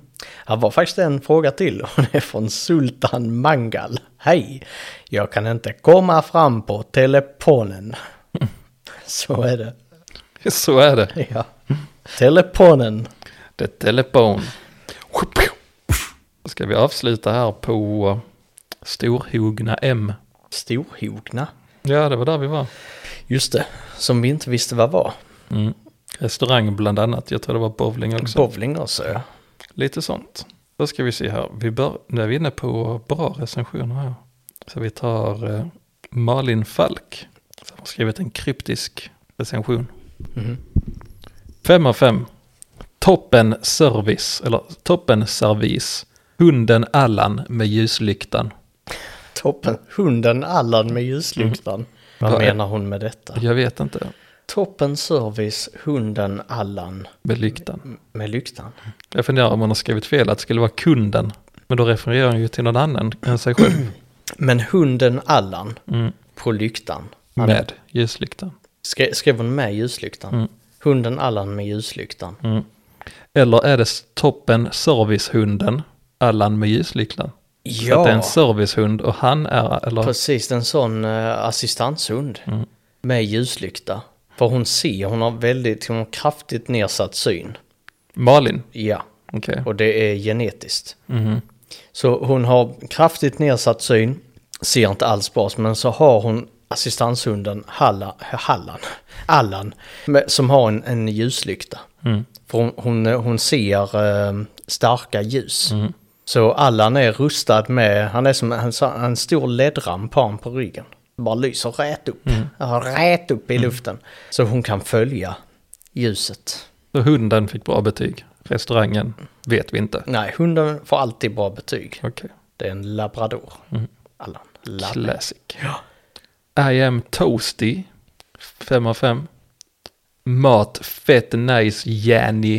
[SPEAKER 2] Här var faktiskt en fråga till och det är från Sultan Mangal. Hej! Jag kan inte komma fram på telefonen. Så är det.
[SPEAKER 1] Så är det.
[SPEAKER 2] Ja. Telefonen.
[SPEAKER 1] Det är telefon. Ska vi avsluta här på Storhogna M.
[SPEAKER 2] Storhogna.
[SPEAKER 1] Ja, det var där vi var.
[SPEAKER 2] Just det, som vi inte visste vad var.
[SPEAKER 1] Mm. Restaurang bland annat. Jag tror det var bowling också.
[SPEAKER 2] Bowling också, ja.
[SPEAKER 1] Lite sånt. Då ska vi se här. Vi bör, nu är vi inne på bra recensioner här. Så vi tar eh, Malin Falk. Som har skrivit en kryptisk recension.
[SPEAKER 2] Mhm.
[SPEAKER 1] Fem av fem. Toppen service, eller toppen servis. Hunden Allan med ljuslyktan.
[SPEAKER 2] Toppen. Hunden Allan med ljuslyktan. Vad
[SPEAKER 1] Mm. Ja,
[SPEAKER 2] menar hon med detta?
[SPEAKER 1] Jag vet inte,
[SPEAKER 2] Toppen service, hunden Allan
[SPEAKER 1] med lyktan.
[SPEAKER 2] med lyktan.
[SPEAKER 1] Jag funderar om hon har skrivit fel, att det skulle vara kunden. Men då refererar hon ju till någon annan än sig själv.
[SPEAKER 2] Men hunden Allan
[SPEAKER 1] Mm.
[SPEAKER 2] på lyktan. Han-
[SPEAKER 1] Med ljuslyktan.
[SPEAKER 2] Skre, skrev hon med ljuslyktan?
[SPEAKER 1] Mm.
[SPEAKER 2] Hunden Allan med ljuslyktan.
[SPEAKER 1] Mm. Eller är det s- toppen servicehunden, Allan med ljuslyktan? För Att det är
[SPEAKER 2] Ja,
[SPEAKER 1] en servicehund och han är, eller
[SPEAKER 2] precis. En sån eh, assistanshund
[SPEAKER 1] Mm.
[SPEAKER 2] med ljuslykta. För hon ser, hon har väldigt, hon har kraftigt nedsatt syn.
[SPEAKER 1] Malin.
[SPEAKER 2] Ja,
[SPEAKER 1] Okej.
[SPEAKER 2] och det är genetiskt.
[SPEAKER 1] Mhm.
[SPEAKER 2] Så hon har kraftigt nedsatt syn, ser inte alls bra ut, men så har hon assistanshunden Halla, Hallan, Allan, med- som har en, en ljuslykta.
[SPEAKER 1] Mm.
[SPEAKER 2] För hon, hon, hon ser eh, starka ljus. Så Allan är rustad med, han är som en, sån- en stor ledramp har han på ryggen. Bara lyser rät upp, rät upp i luften. Så hon kan följa ljuset.
[SPEAKER 1] Så hunden fick bra betyg. Restaurangen vet vi inte.
[SPEAKER 2] Nej, hunden får alltid bra betyg.
[SPEAKER 1] Okej.
[SPEAKER 2] Det är en labrador. Allan. Lab-
[SPEAKER 1] Classic. I am toasty. fem av fem. Mat fett nice Jenny.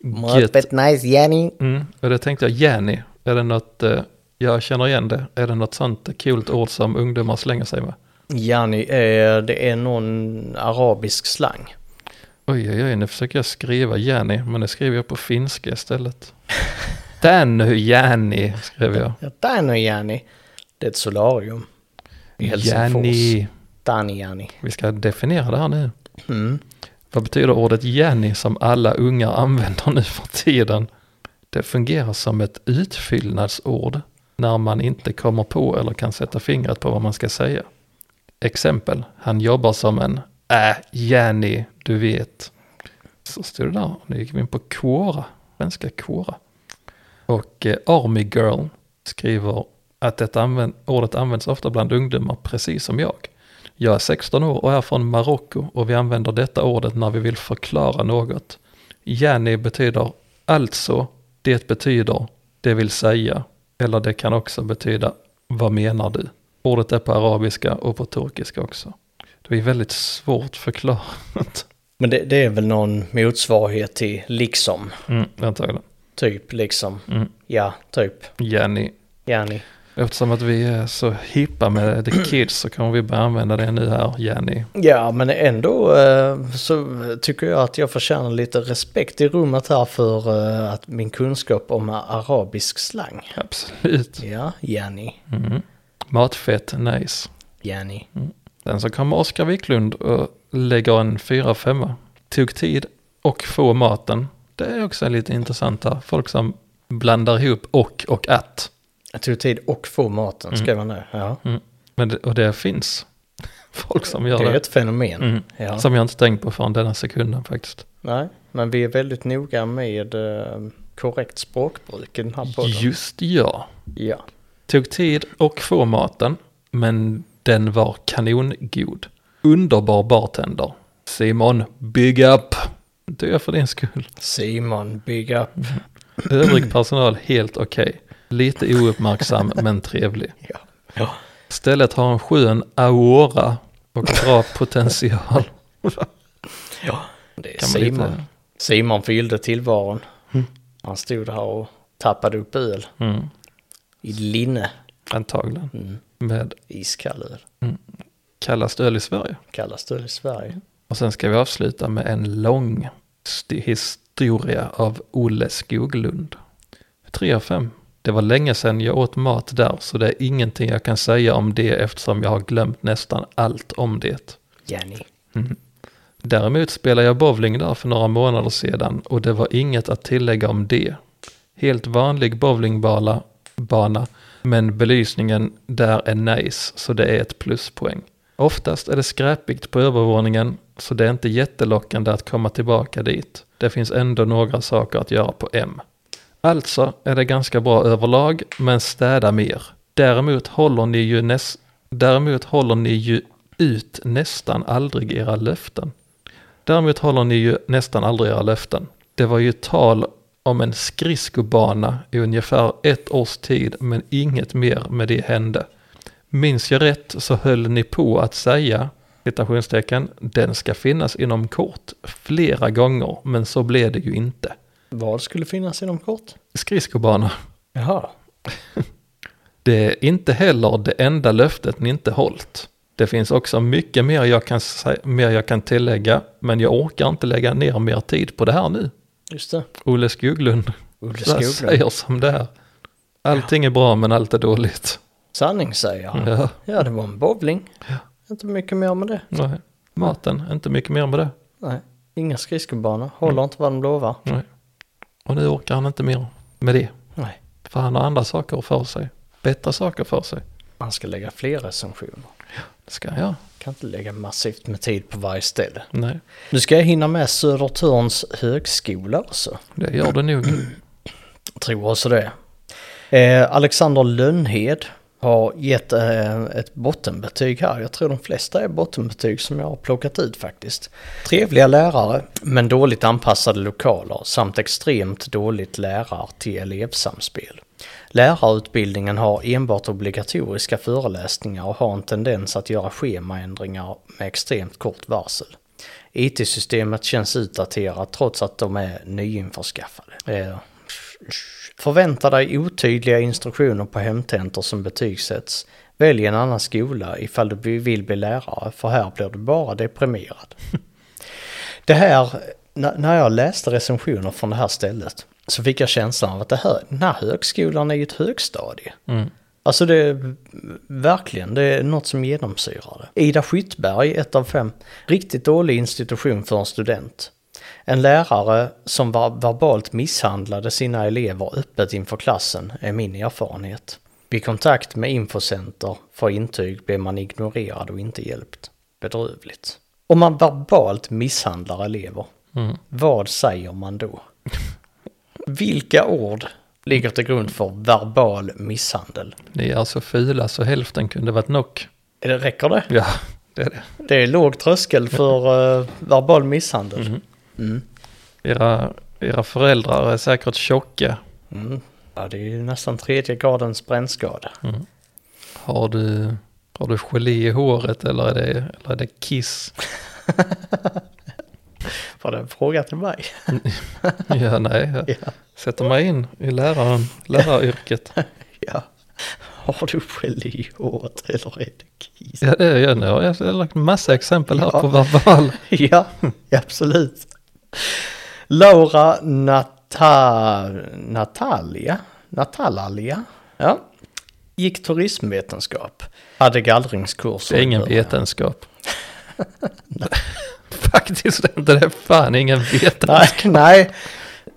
[SPEAKER 1] Gött.
[SPEAKER 2] Mötet nice Jenny.
[SPEAKER 1] Mm. Och det tänkte jag, Jenny, är det något, eh, jag känner igen det, är det något sånt kul ord som ungdomar slänger sig med?
[SPEAKER 2] Jani är, eh, det är någon arabisk slang.
[SPEAKER 1] Oj, oj, oj, nu försöker jag skriva Jenny, men det skriver jag på finska istället. Den Jenny, skrev jag.
[SPEAKER 2] Ja, Dano Jani. Det är ett solarium. I Helsingfors.
[SPEAKER 1] Jenny.
[SPEAKER 2] Dani Jani.
[SPEAKER 1] Vi ska definiera det här nu.
[SPEAKER 2] Mm.
[SPEAKER 1] Vad betyder ordet Jenny som alla ungar använder nu för tiden? Det fungerar som ett utfyllnadsord när man inte kommer på eller kan sätta fingret på vad man ska säga. Exempel, han jobbar som en äh, Jenny, du vet. Så stod det där, nu gick vi in på Quora, svenska Quora. Och eh, Army Girl skriver att detta använd, ordet används ofta bland ungdomar precis som jag. Jag är 16 år och är från Marocko och vi använder detta ordet när vi vill förklara något. Yani betyder alltså, det betyder, det vill säga, eller det kan också betyda vad menar du? Ordet är på arabiska och på turkiska också. Det är väldigt svårt förklarat.
[SPEAKER 2] Men det, det är väl någon motsvarighet till liksom.
[SPEAKER 1] Mm, antagligen.
[SPEAKER 2] Typ liksom.
[SPEAKER 1] Mm.
[SPEAKER 2] Ja, typ.
[SPEAKER 1] Yani.
[SPEAKER 2] Jani.
[SPEAKER 1] Eftersom att vi är så hippa med the kids så kommer vi börja använda det nu här, Yani.
[SPEAKER 2] Ja, men ändå eh, så tycker jag att jag förtjänar lite respekt i rummet här för eh, att min kunskap om arabisk slang.
[SPEAKER 1] Absolut.
[SPEAKER 2] Ja, Jani.
[SPEAKER 1] Mm. Matfett, nice.
[SPEAKER 2] Jani.
[SPEAKER 1] Sen så kommer Oskar Wiklund och lägger en 4-5. Tog tid och få maten. Det är också lite intressant där. Folk som blandar ihop och och att.
[SPEAKER 2] Jag tog tid och få maten, skrev han nu. Ja.
[SPEAKER 1] Men det, och det finns folk som gör
[SPEAKER 2] Det är
[SPEAKER 1] det.
[SPEAKER 2] ett fenomen.
[SPEAKER 1] Mm.
[SPEAKER 2] Ja.
[SPEAKER 1] Som jag inte tänkt på förrän denna sekunden faktiskt.
[SPEAKER 2] Nej, men vi är väldigt noga med eh, korrekt språkbruk i den här podden.
[SPEAKER 1] Just ja.
[SPEAKER 2] Ja.
[SPEAKER 1] Tog tid och få maten, men den var kanongod. Underbar bartender. Simon, big up! Det är för din skull.
[SPEAKER 2] Simon, big up.
[SPEAKER 1] Övrig personal helt okej. Lite ouppmärksam men trevlig.
[SPEAKER 2] Ja. Ja.
[SPEAKER 1] Stället har en skön aura och bra potential.
[SPEAKER 2] ja. Det är
[SPEAKER 1] Kan man lite-
[SPEAKER 2] Simon. Simon fyllde tillvaron. Han stod här och tappade upp öl
[SPEAKER 1] Mm,
[SPEAKER 2] i linne.
[SPEAKER 1] antagligen.
[SPEAKER 2] Mm.
[SPEAKER 1] Med
[SPEAKER 2] Iskall öl
[SPEAKER 1] kallast öl i Sverige.
[SPEAKER 2] kallas det i Sverige.
[SPEAKER 1] Och sen ska vi avsluta med en lång sti- historia av Olle Skoglund. 3 av 5. Det var länge sedan jag åt mat där så det är ingenting jag kan säga om det eftersom jag har glömt nästan allt om det.
[SPEAKER 2] Jenny.
[SPEAKER 1] Däremot spelade jag bowling där för några månader sedan och det var inget att tillägga om det. Helt vanlig bowlingbana, bana, men belysningen där är nice så det är ett pluspoäng. Oftast är det skräpigt på övervåningen så det är inte jättelockande att komma tillbaka dit. Det finns ändå några saker att göra på M. Alltså är det ganska bra överlag, men städa mer. Däremot håller ni ju, näs- Däremot håller ni ju ut nästan aldrig era löften. Däremot håller ni ju nästan aldrig era löften. Det var ju tal om en skridskobana i ungefär ett års tid, men inget mer med det hände. Minns jag rätt så höll ni på att säga, citationstecken, den ska finnas inom kort, flera gånger, men så blev det ju inte.
[SPEAKER 2] Vad skulle finnas inom kort?
[SPEAKER 1] Skridskobana.
[SPEAKER 2] Jaha.
[SPEAKER 1] Det är inte heller det enda löftet ni inte hållit. Det finns också mycket mer jag, kan, sä- mer jag kan tillägga, men jag orkar inte lägga ner mer tid på det här nu.
[SPEAKER 2] Just det.
[SPEAKER 1] Olle Skoglund
[SPEAKER 2] Olle
[SPEAKER 1] vad
[SPEAKER 2] Skoglund.
[SPEAKER 1] säger som det är. Allting är bra, men allt är dåligt.
[SPEAKER 2] Sanning säger han.
[SPEAKER 1] Ja,
[SPEAKER 2] Ja, det var en bowling. Inte mycket mer med det.
[SPEAKER 1] nej. Maten, inte mycket mer med det.
[SPEAKER 2] Nej. Inga skridskobanor. Håller inte vad de lovar.
[SPEAKER 1] Nej. Och nu orkar han inte mer med det,
[SPEAKER 2] Nej.
[SPEAKER 1] för han har andra saker för sig. Bättre saker för sig.
[SPEAKER 2] Man ska lägga fler recensioner.
[SPEAKER 1] Det ska jag göra.
[SPEAKER 2] Kan inte lägga massivt med tid på varje ställe.
[SPEAKER 1] Nej,
[SPEAKER 2] Nu ska jag hinna med Södertörns högskola också.
[SPEAKER 1] det gör det nog.
[SPEAKER 2] Tror också det. Eh, Alexander Lönnhed har gett eh, ett bottenbetyg här. Jag tror de flesta är bottenbetyg som jag har plockat ut faktiskt. Trevliga lärare, men dåligt anpassade lokaler samt extremt dåligt lärar till elevsamspel. Lärarutbildningen har enbart obligatoriska föreläsningar och har en tendens att göra schemaändringar med extremt kort varsel. IT-systemet känns utdaterat trots att de är nyinförskaffade. Eh, Förvänta dig otydliga instruktioner på hemtentor som betygsätts. Välj en annan skola ifall du vill bli lärare, för här blir du bara deprimerad. Det här, na- när jag läste recensioner från det här stället, så fick jag känslan av att det här, den här högskolan är ju ett högstadie.
[SPEAKER 1] Mm.
[SPEAKER 2] Alltså det är verkligen, det är något som genomsyrar det. Ida Skyttberg, ett av fem. Riktigt dålig institution för en student. En lärare som var verbalt misshandlade sina elever öppet inför klassen är min erfarenhet. Vid kontakt med infocenter för intyg blev man ignorerad och inte hjälpt. Bedrövligt. Om man verbalt misshandlar elever,
[SPEAKER 1] Mm.
[SPEAKER 2] vad säger man då? Vilka ord ligger till grund för verbal misshandel?
[SPEAKER 1] Ni är alltså fula så hälften kunde varit nog.
[SPEAKER 2] Är det, räcker det?
[SPEAKER 1] Ja, det är det.
[SPEAKER 2] Det är låg tröskel för eh, verbal misshandel. Mm.
[SPEAKER 1] Era, era föräldrar är säkert tjocka.
[SPEAKER 2] Mm. Ja, det är ju nästan tredje gradens brännskada.
[SPEAKER 1] Har du, har du gelé i håret eller är det, eller är det kiss?
[SPEAKER 2] Var det en fråga till mig?
[SPEAKER 1] Ja, nej. Jag
[SPEAKER 2] Ja.
[SPEAKER 1] sätter mig in i läraren, läraryrket.
[SPEAKER 2] ja. Har du gelé i håret eller är det kiss?
[SPEAKER 1] Ja, det är jag nu. Jag har lagt massa exempel här
[SPEAKER 2] Ja.
[SPEAKER 1] på verbal.
[SPEAKER 2] Ja, absolut. Laura Nata... Natalia? Natalalia? Ja. Gick turismvetenskap. Hade gallringskurs.
[SPEAKER 1] Det är ingen vetenskap. Faktiskt det är inte. Det är fan ingen vetenskap.
[SPEAKER 2] Nej, nej.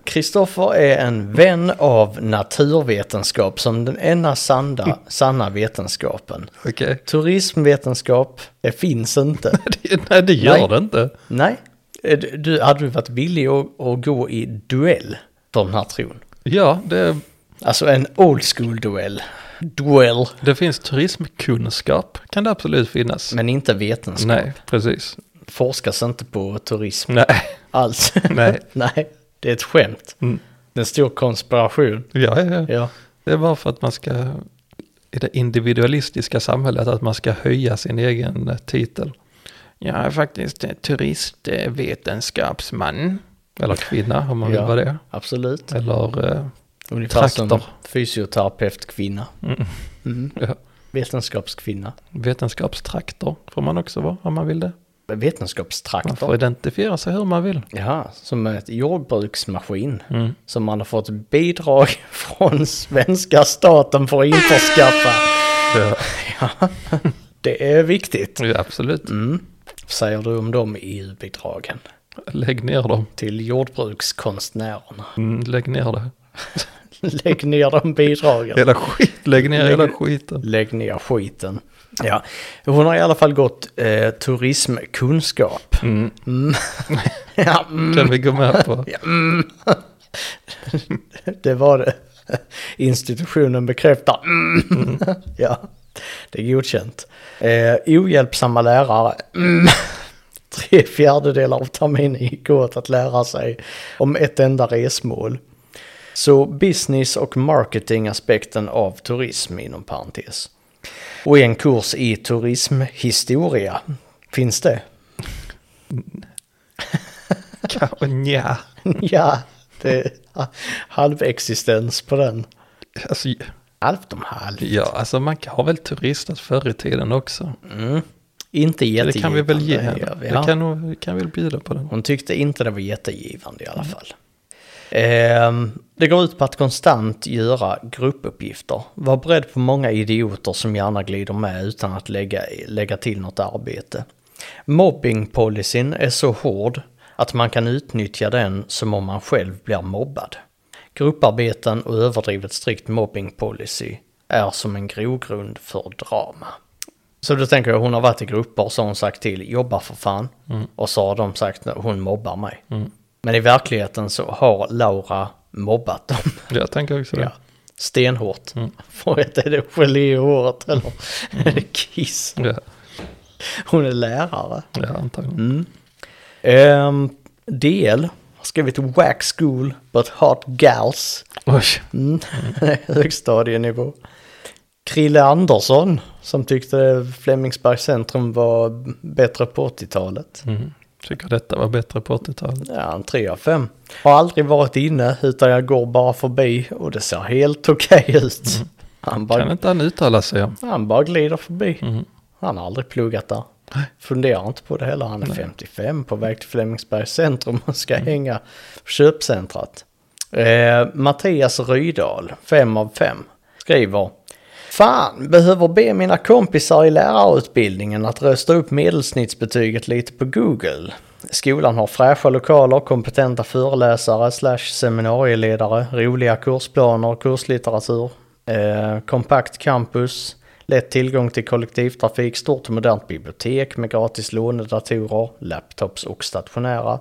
[SPEAKER 2] Kristoffer är en vän av naturvetenskap som den enda sanda, sanna vetenskapen.
[SPEAKER 1] Okej.
[SPEAKER 2] Turismvetenskap, det finns inte.
[SPEAKER 1] Det- Nej, det gör
[SPEAKER 2] Nej.
[SPEAKER 1] det inte.
[SPEAKER 2] Nej, Eh, du- du, hade du varit villig att, att gå i duell för den här tron?
[SPEAKER 1] Ja, det,
[SPEAKER 2] Alltså en old school duell. Duell,
[SPEAKER 1] det finns turismkunskap. Kan det absolut finnas.
[SPEAKER 2] men inte vetenskap.
[SPEAKER 1] Nej, precis.
[SPEAKER 2] Forskas inte på turism
[SPEAKER 1] Nej,
[SPEAKER 2] alls.
[SPEAKER 1] Nej.
[SPEAKER 2] nej, det är ett skämt.
[SPEAKER 1] Mm.
[SPEAKER 2] Det är en stor konspiration.
[SPEAKER 1] ja, ja, ja.
[SPEAKER 2] Ja.
[SPEAKER 1] Det är bara för att man ska, i det individualistiska samhället, att man ska höja sin egen eh, titel. Jag är faktiskt eh, turistvetenskapsman. Eller kvinna, om man vill
[SPEAKER 2] Ja.
[SPEAKER 1] vara det.
[SPEAKER 2] Absolut.
[SPEAKER 1] Eller, eh,
[SPEAKER 2] Ungefär som
[SPEAKER 1] Traktor.
[SPEAKER 2] fysioterapeutkvinna.
[SPEAKER 1] Mm.
[SPEAKER 2] Mm.
[SPEAKER 1] ja.
[SPEAKER 2] Vetenskapskvinna.
[SPEAKER 1] Vetenskapstraktor får man också vara om man vill det. Man får
[SPEAKER 2] Vetenskapstraktor.
[SPEAKER 1] identifiera sig hur man vill.
[SPEAKER 2] Ja, som ett jordbruksmaskin.
[SPEAKER 1] Mm.
[SPEAKER 2] Som man har fått bidrag från svenska staten för att införskaffa.
[SPEAKER 1] Ja,
[SPEAKER 2] Det är viktigt.
[SPEAKER 1] ja, absolut.
[SPEAKER 2] Mm. Säger du om de EU-bidragen?
[SPEAKER 1] Lägg ner dem.
[SPEAKER 2] Till jordbrukskonstnärerna.
[SPEAKER 1] Mm, lägg ner det.
[SPEAKER 2] Lägg ner de bidragen.
[SPEAKER 1] Hela skit, lägg ner hela
[SPEAKER 2] Lägg-
[SPEAKER 1] skiten.
[SPEAKER 2] Lägg ner skiten. Ja, hon har i alla fall gått eh, turismkunskap.
[SPEAKER 1] Mm.
[SPEAKER 2] Mm. ja, mm.
[SPEAKER 1] Kan vi gå med på.
[SPEAKER 2] Det var det. Institutionen bekräftar. Mm. ja, det är godkänt. Eh, ohjälpsamma lärare. Mm. Tre fjärdedelar av terminen gick åt att lära sig om ett enda resmål. Så business och marketingaspekten av turism inom parentes. Och en kurs i turismhistoria. Finns det?
[SPEAKER 1] Kanske nja.
[SPEAKER 2] ja, det är halvexistens på den.
[SPEAKER 1] Alltså,
[SPEAKER 2] Halvt om halvt.
[SPEAKER 1] ja, alltså man har väl turistat förr i tiden också. Det
[SPEAKER 2] Inte jättegivande.
[SPEAKER 1] kan vi väl ge
[SPEAKER 2] gör
[SPEAKER 1] henne.
[SPEAKER 2] vi.
[SPEAKER 1] Det
[SPEAKER 2] Ja.
[SPEAKER 1] kan, nog- vi kan väl bjuda på den.
[SPEAKER 2] Hon tyckte inte det var jättegivande i alla fall. Ehm, det går ut på att konstant göra gruppuppgifter. Var beredd på många idioter som gärna glider med utan att lägga, lägga till något arbete. Mobbingpolicyn är så hård att man kan utnyttja den som om man själv blir mobbad. Grupparbeten och överdrivet strikt mobbingpolicy är som en grogrund för drama. Så då tänker jag, hon har varit i grupper så har hon sagt till, jobba för fan. Och så har de sagt, hon mobbar mig. Men i verkligheten så har Laura mobbat dem.
[SPEAKER 1] Jag tänker också
[SPEAKER 2] Ja. Mm.
[SPEAKER 1] det.
[SPEAKER 2] Stenhårt. För att är det gelé i håret eller är det kiss?
[SPEAKER 1] Ja,
[SPEAKER 2] Hon är lärare.
[SPEAKER 1] ja antagligen.
[SPEAKER 2] Ehm, DL har skrivit Wax School but Hot Gals.
[SPEAKER 1] Oj,
[SPEAKER 2] Mm. Högstadienivå. Krille
[SPEAKER 1] Mm.
[SPEAKER 2] Andersson, som tyckte Flemingsbergs centrum var bättre på 80-talet.
[SPEAKER 1] Tycker detta var bättre på 80-talet.
[SPEAKER 2] Ja, en 3 av 5. Har aldrig varit inne utan jag går bara förbi och det ser helt okej ut. Han,
[SPEAKER 1] Kan
[SPEAKER 2] bara,
[SPEAKER 1] inte han uttala sig om?
[SPEAKER 2] han bara glider förbi.
[SPEAKER 1] Mm.
[SPEAKER 2] Han har aldrig pluggat där. Funderar inte på det heller. Han är 55 på väg till Flemingsbergs centrum och ska hänga på köpcentrat. Eh, Mattias Rydahl, 5 av 5, skriver Fan, behöver be mina kompisar i lärarutbildningen att rösta upp medelsnittsbetyget lite på Google. Skolan har fräscha lokaler, kompetenta föreläsare, slash seminarieledare, roliga kursplaner, kurslitteratur, eh, kompakt campus, lätt tillgång till kollektivtrafik, stort och modernt bibliotek med gratis lånedatorer, laptops och stationära.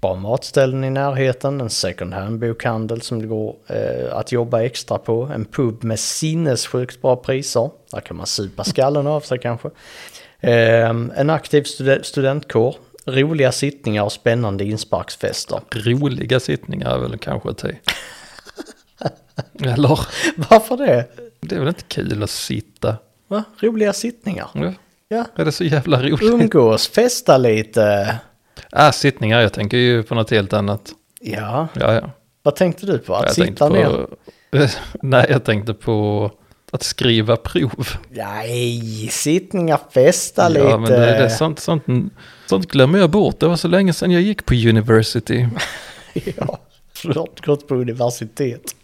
[SPEAKER 2] Bra matställen i närheten, en second hand-bokhandel som det går eh, att jobba extra på, en pub med sinnessjukt bra priser, där kan man supa skallen av sig kanske. Eh, en aktiv stud- studentkår, roliga sittningar och spännande insparksfester.
[SPEAKER 1] Roliga sittningar är väl kanske att ta i. Eller?
[SPEAKER 2] Varför det?
[SPEAKER 1] Det är väl inte kul att sitta?
[SPEAKER 2] Va? Roliga sittningar?
[SPEAKER 1] Ja.
[SPEAKER 2] Ja.
[SPEAKER 1] Är det så jävla roligt?
[SPEAKER 2] Umgås, festa lite.
[SPEAKER 1] Ah, sittningar, jag tänker ju på något helt annat.
[SPEAKER 2] Ja,
[SPEAKER 1] Ja, ja.
[SPEAKER 2] vad tänkte du på? Att
[SPEAKER 1] jag tänkte
[SPEAKER 2] sitta ner?
[SPEAKER 1] Nej, jag tänkte på att skriva prov.
[SPEAKER 2] Nej, sittningar, festa lite.
[SPEAKER 1] Ja, men det, det, är sånt, sånt, sånt glömmer jag bort. Det var så länge sedan jag gick på university.
[SPEAKER 2] ja, flört gått på universitet.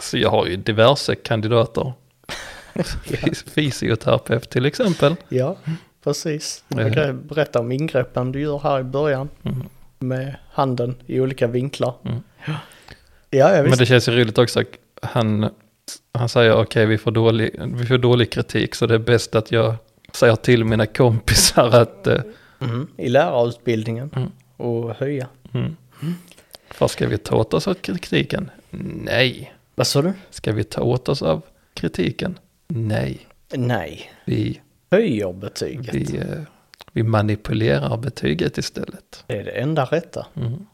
[SPEAKER 1] Så jag har ju diverse kandidater. Fys- Fysioterapeut till exempel.
[SPEAKER 2] Ja, precis.
[SPEAKER 1] Eh.
[SPEAKER 2] Jag kan berätta om ingreppen du gör här i början.
[SPEAKER 1] Mm.
[SPEAKER 2] Med handen i olika vinklar. Ja, ja
[SPEAKER 1] Men
[SPEAKER 2] visst.
[SPEAKER 1] det känns ju roligt också. Han, han säger okej, vi, får dålig- vi får dålig kritik så det är bäst att jag säger till mina kompisar att eh,
[SPEAKER 2] Mm, I lärarutbildningen.
[SPEAKER 1] Mm.
[SPEAKER 2] Och höja.
[SPEAKER 1] Vad ska vi ta åt oss av kritiken? Nej.
[SPEAKER 2] Vad sa du?
[SPEAKER 1] Ska vi ta åt oss av kritiken? Nej.
[SPEAKER 2] Nej,
[SPEAKER 1] Vi,
[SPEAKER 2] höjer betyget.
[SPEAKER 1] vi, eh, vi manipulerar betyget istället.
[SPEAKER 2] Det är det enda rätta.
[SPEAKER 1] Mhm.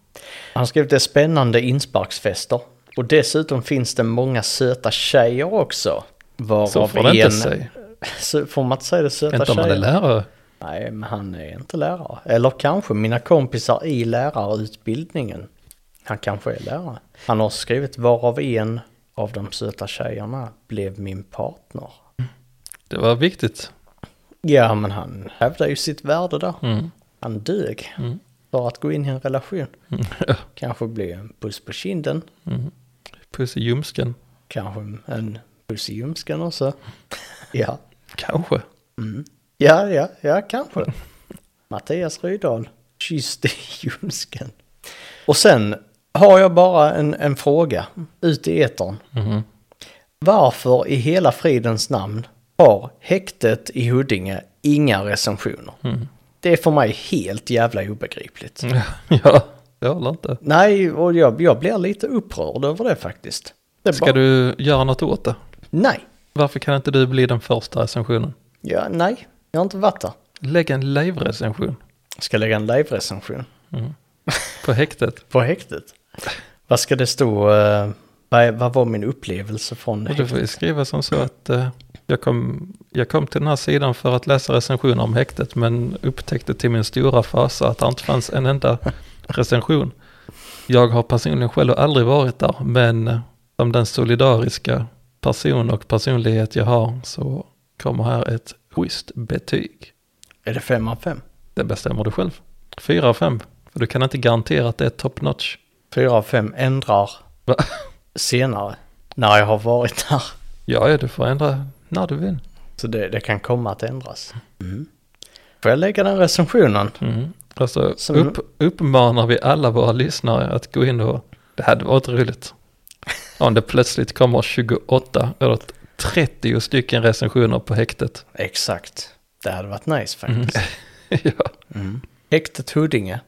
[SPEAKER 2] Han skrev det är spännande insparksfester. Och dessutom finns det många söta tjejer också. Varav
[SPEAKER 1] Så får det
[SPEAKER 2] en...
[SPEAKER 1] inte sig.
[SPEAKER 2] Så får man inte säga det söta
[SPEAKER 1] Inte om man är
[SPEAKER 2] tjejer?
[SPEAKER 1] lärare.
[SPEAKER 2] Nej, men han är inte lärare. Eller kanske mina kompisar i lärarutbildningen. Han kanske är lärare. Han har skrivit varav en av de söta tjejerna blev min partner.
[SPEAKER 1] Det var viktigt.
[SPEAKER 2] Ja, men han hävdar ju sitt värde där.
[SPEAKER 1] Mm.
[SPEAKER 2] Han dög för att gå in i en relation. Kanske bli en puss på kinden.
[SPEAKER 1] Puss i ljumsken.
[SPEAKER 2] Kanske en puss i ljumsken också. Ja, mm.
[SPEAKER 1] Kanske.
[SPEAKER 2] ja, ja, ja kanske. Mattias Rydahl, kyss i ljumsken. Och sen har jag bara en, en fråga ut i etern.
[SPEAKER 1] Mm-hmm.
[SPEAKER 2] Varför i hela fridens namn har häktet i Huddinge inga recensioner?
[SPEAKER 1] Mm.
[SPEAKER 2] Det är för mig helt jävla obegripligt.
[SPEAKER 1] ja, jag håller inte.
[SPEAKER 2] Nej, och jag, jag blir lite upprörd över det faktiskt. Det är
[SPEAKER 1] Ska
[SPEAKER 2] bara-
[SPEAKER 1] du göra något åt det?
[SPEAKER 2] Nej.
[SPEAKER 1] Varför kan inte du bli den första recensionen?
[SPEAKER 2] Ja, nej, jag har inte varit där.
[SPEAKER 1] Lägg en live-recension
[SPEAKER 2] Ska lägga en live-recension
[SPEAKER 1] på häktet.
[SPEAKER 2] på häktet. Vad ska det stå? eh, vad, vad var min upplevelse från
[SPEAKER 1] Och du
[SPEAKER 2] häktet?
[SPEAKER 1] får ju skriva som så att eh, jag, kom, jag kom till den här sidan för att läsa recensioner om häktet men upptäckte till min stora fasa att det inte fanns en enda recension. Jag har personligen själv aldrig varit där men eh, som den solidariska person och personlighet jag har så kommer här ett schysst betyg.
[SPEAKER 2] Är det fem av fem?
[SPEAKER 1] Det bestämmer du själv. Fyra av fem. För du kan inte garantera att det är top notch.
[SPEAKER 2] Fyra av fem ändrar
[SPEAKER 1] Va?
[SPEAKER 2] senare när jag har varit där.
[SPEAKER 1] Ja, ja, du får ändra när du vill.
[SPEAKER 2] Så det, det kan komma att ändras. Mm. Får jag lägga den recensionen?
[SPEAKER 1] Mm. Alltså
[SPEAKER 2] Som-
[SPEAKER 1] upp, uppmanar vi alla våra lyssnare att gå in och det hade varit roligt. Om det plötsligt kommer 28 eller 30 stycken recensioner på häktet.
[SPEAKER 2] Exakt. Det hade varit nice faktiskt.
[SPEAKER 1] ja.
[SPEAKER 2] Häktet Huddinge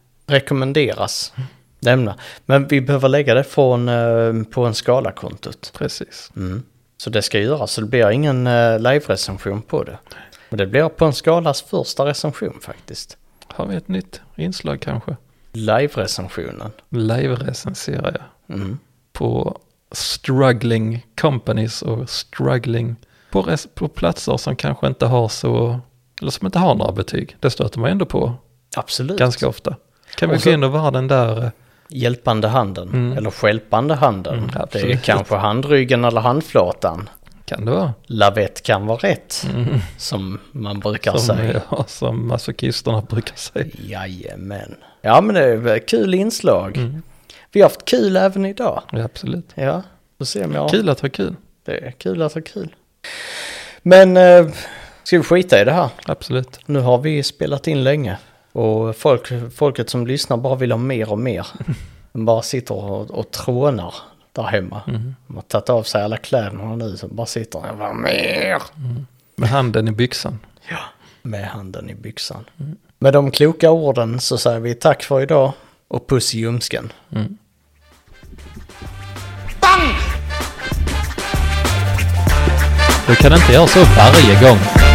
[SPEAKER 2] rekommenderas. Lämna. Men vi behöver lägga det från, eh, på en skala-kontot.
[SPEAKER 1] Precis.
[SPEAKER 2] Så det ska göras, så det blir ingen eh, live-recension på det. Men det blir på en skalas första recension faktiskt.
[SPEAKER 1] Har vi ett nytt inslag kanske?
[SPEAKER 2] Live-recensionen.
[SPEAKER 1] Live-recenserar jag.
[SPEAKER 2] Mm.
[SPEAKER 1] På struggling companies och struggling på, res- på platser som kanske inte har så, eller som inte har några betyg. Det stöter man ändå på
[SPEAKER 2] Absolut.
[SPEAKER 1] ganska ofta. Kan vi
[SPEAKER 2] Och så-
[SPEAKER 1] gå in över den där eh,
[SPEAKER 2] Hjälpande handen,
[SPEAKER 1] Mm.
[SPEAKER 2] eller skälpande handen.
[SPEAKER 1] Mm,
[SPEAKER 2] det är
[SPEAKER 1] absolut.
[SPEAKER 2] kanske handryggen eller handflatan.
[SPEAKER 1] Kan det vara?
[SPEAKER 2] Lavett kan vara rätt,
[SPEAKER 1] Mm.
[SPEAKER 2] som man brukar
[SPEAKER 1] Som, eh,
[SPEAKER 2] säga.
[SPEAKER 1] ja, som masochisterna brukar säga.
[SPEAKER 2] Jajamän. Ja men det är väl kul inslag.
[SPEAKER 1] Mm.
[SPEAKER 2] Vi har haft kul även idag.
[SPEAKER 1] Ja, absolut.
[SPEAKER 2] Ja, får se om jag...
[SPEAKER 1] Kul att ha kul.
[SPEAKER 2] Det är kul att ha kul. Men eh, ska vi skita i det här?
[SPEAKER 1] Absolut.
[SPEAKER 2] Nu har vi spelat in länge. Och folk, folket som lyssnar bara vill ha mer och mer. De bara sitter och, och trånar där hemma. De har tagit av sig alla kläderna nu. Så bara sitter och bara mer.
[SPEAKER 1] Med handen i byxan.
[SPEAKER 2] Med handen i byxan. Med de kloka orden så säger vi tack för idag. Och puss i ljumsken.
[SPEAKER 1] Du kan inte göra så varje gång.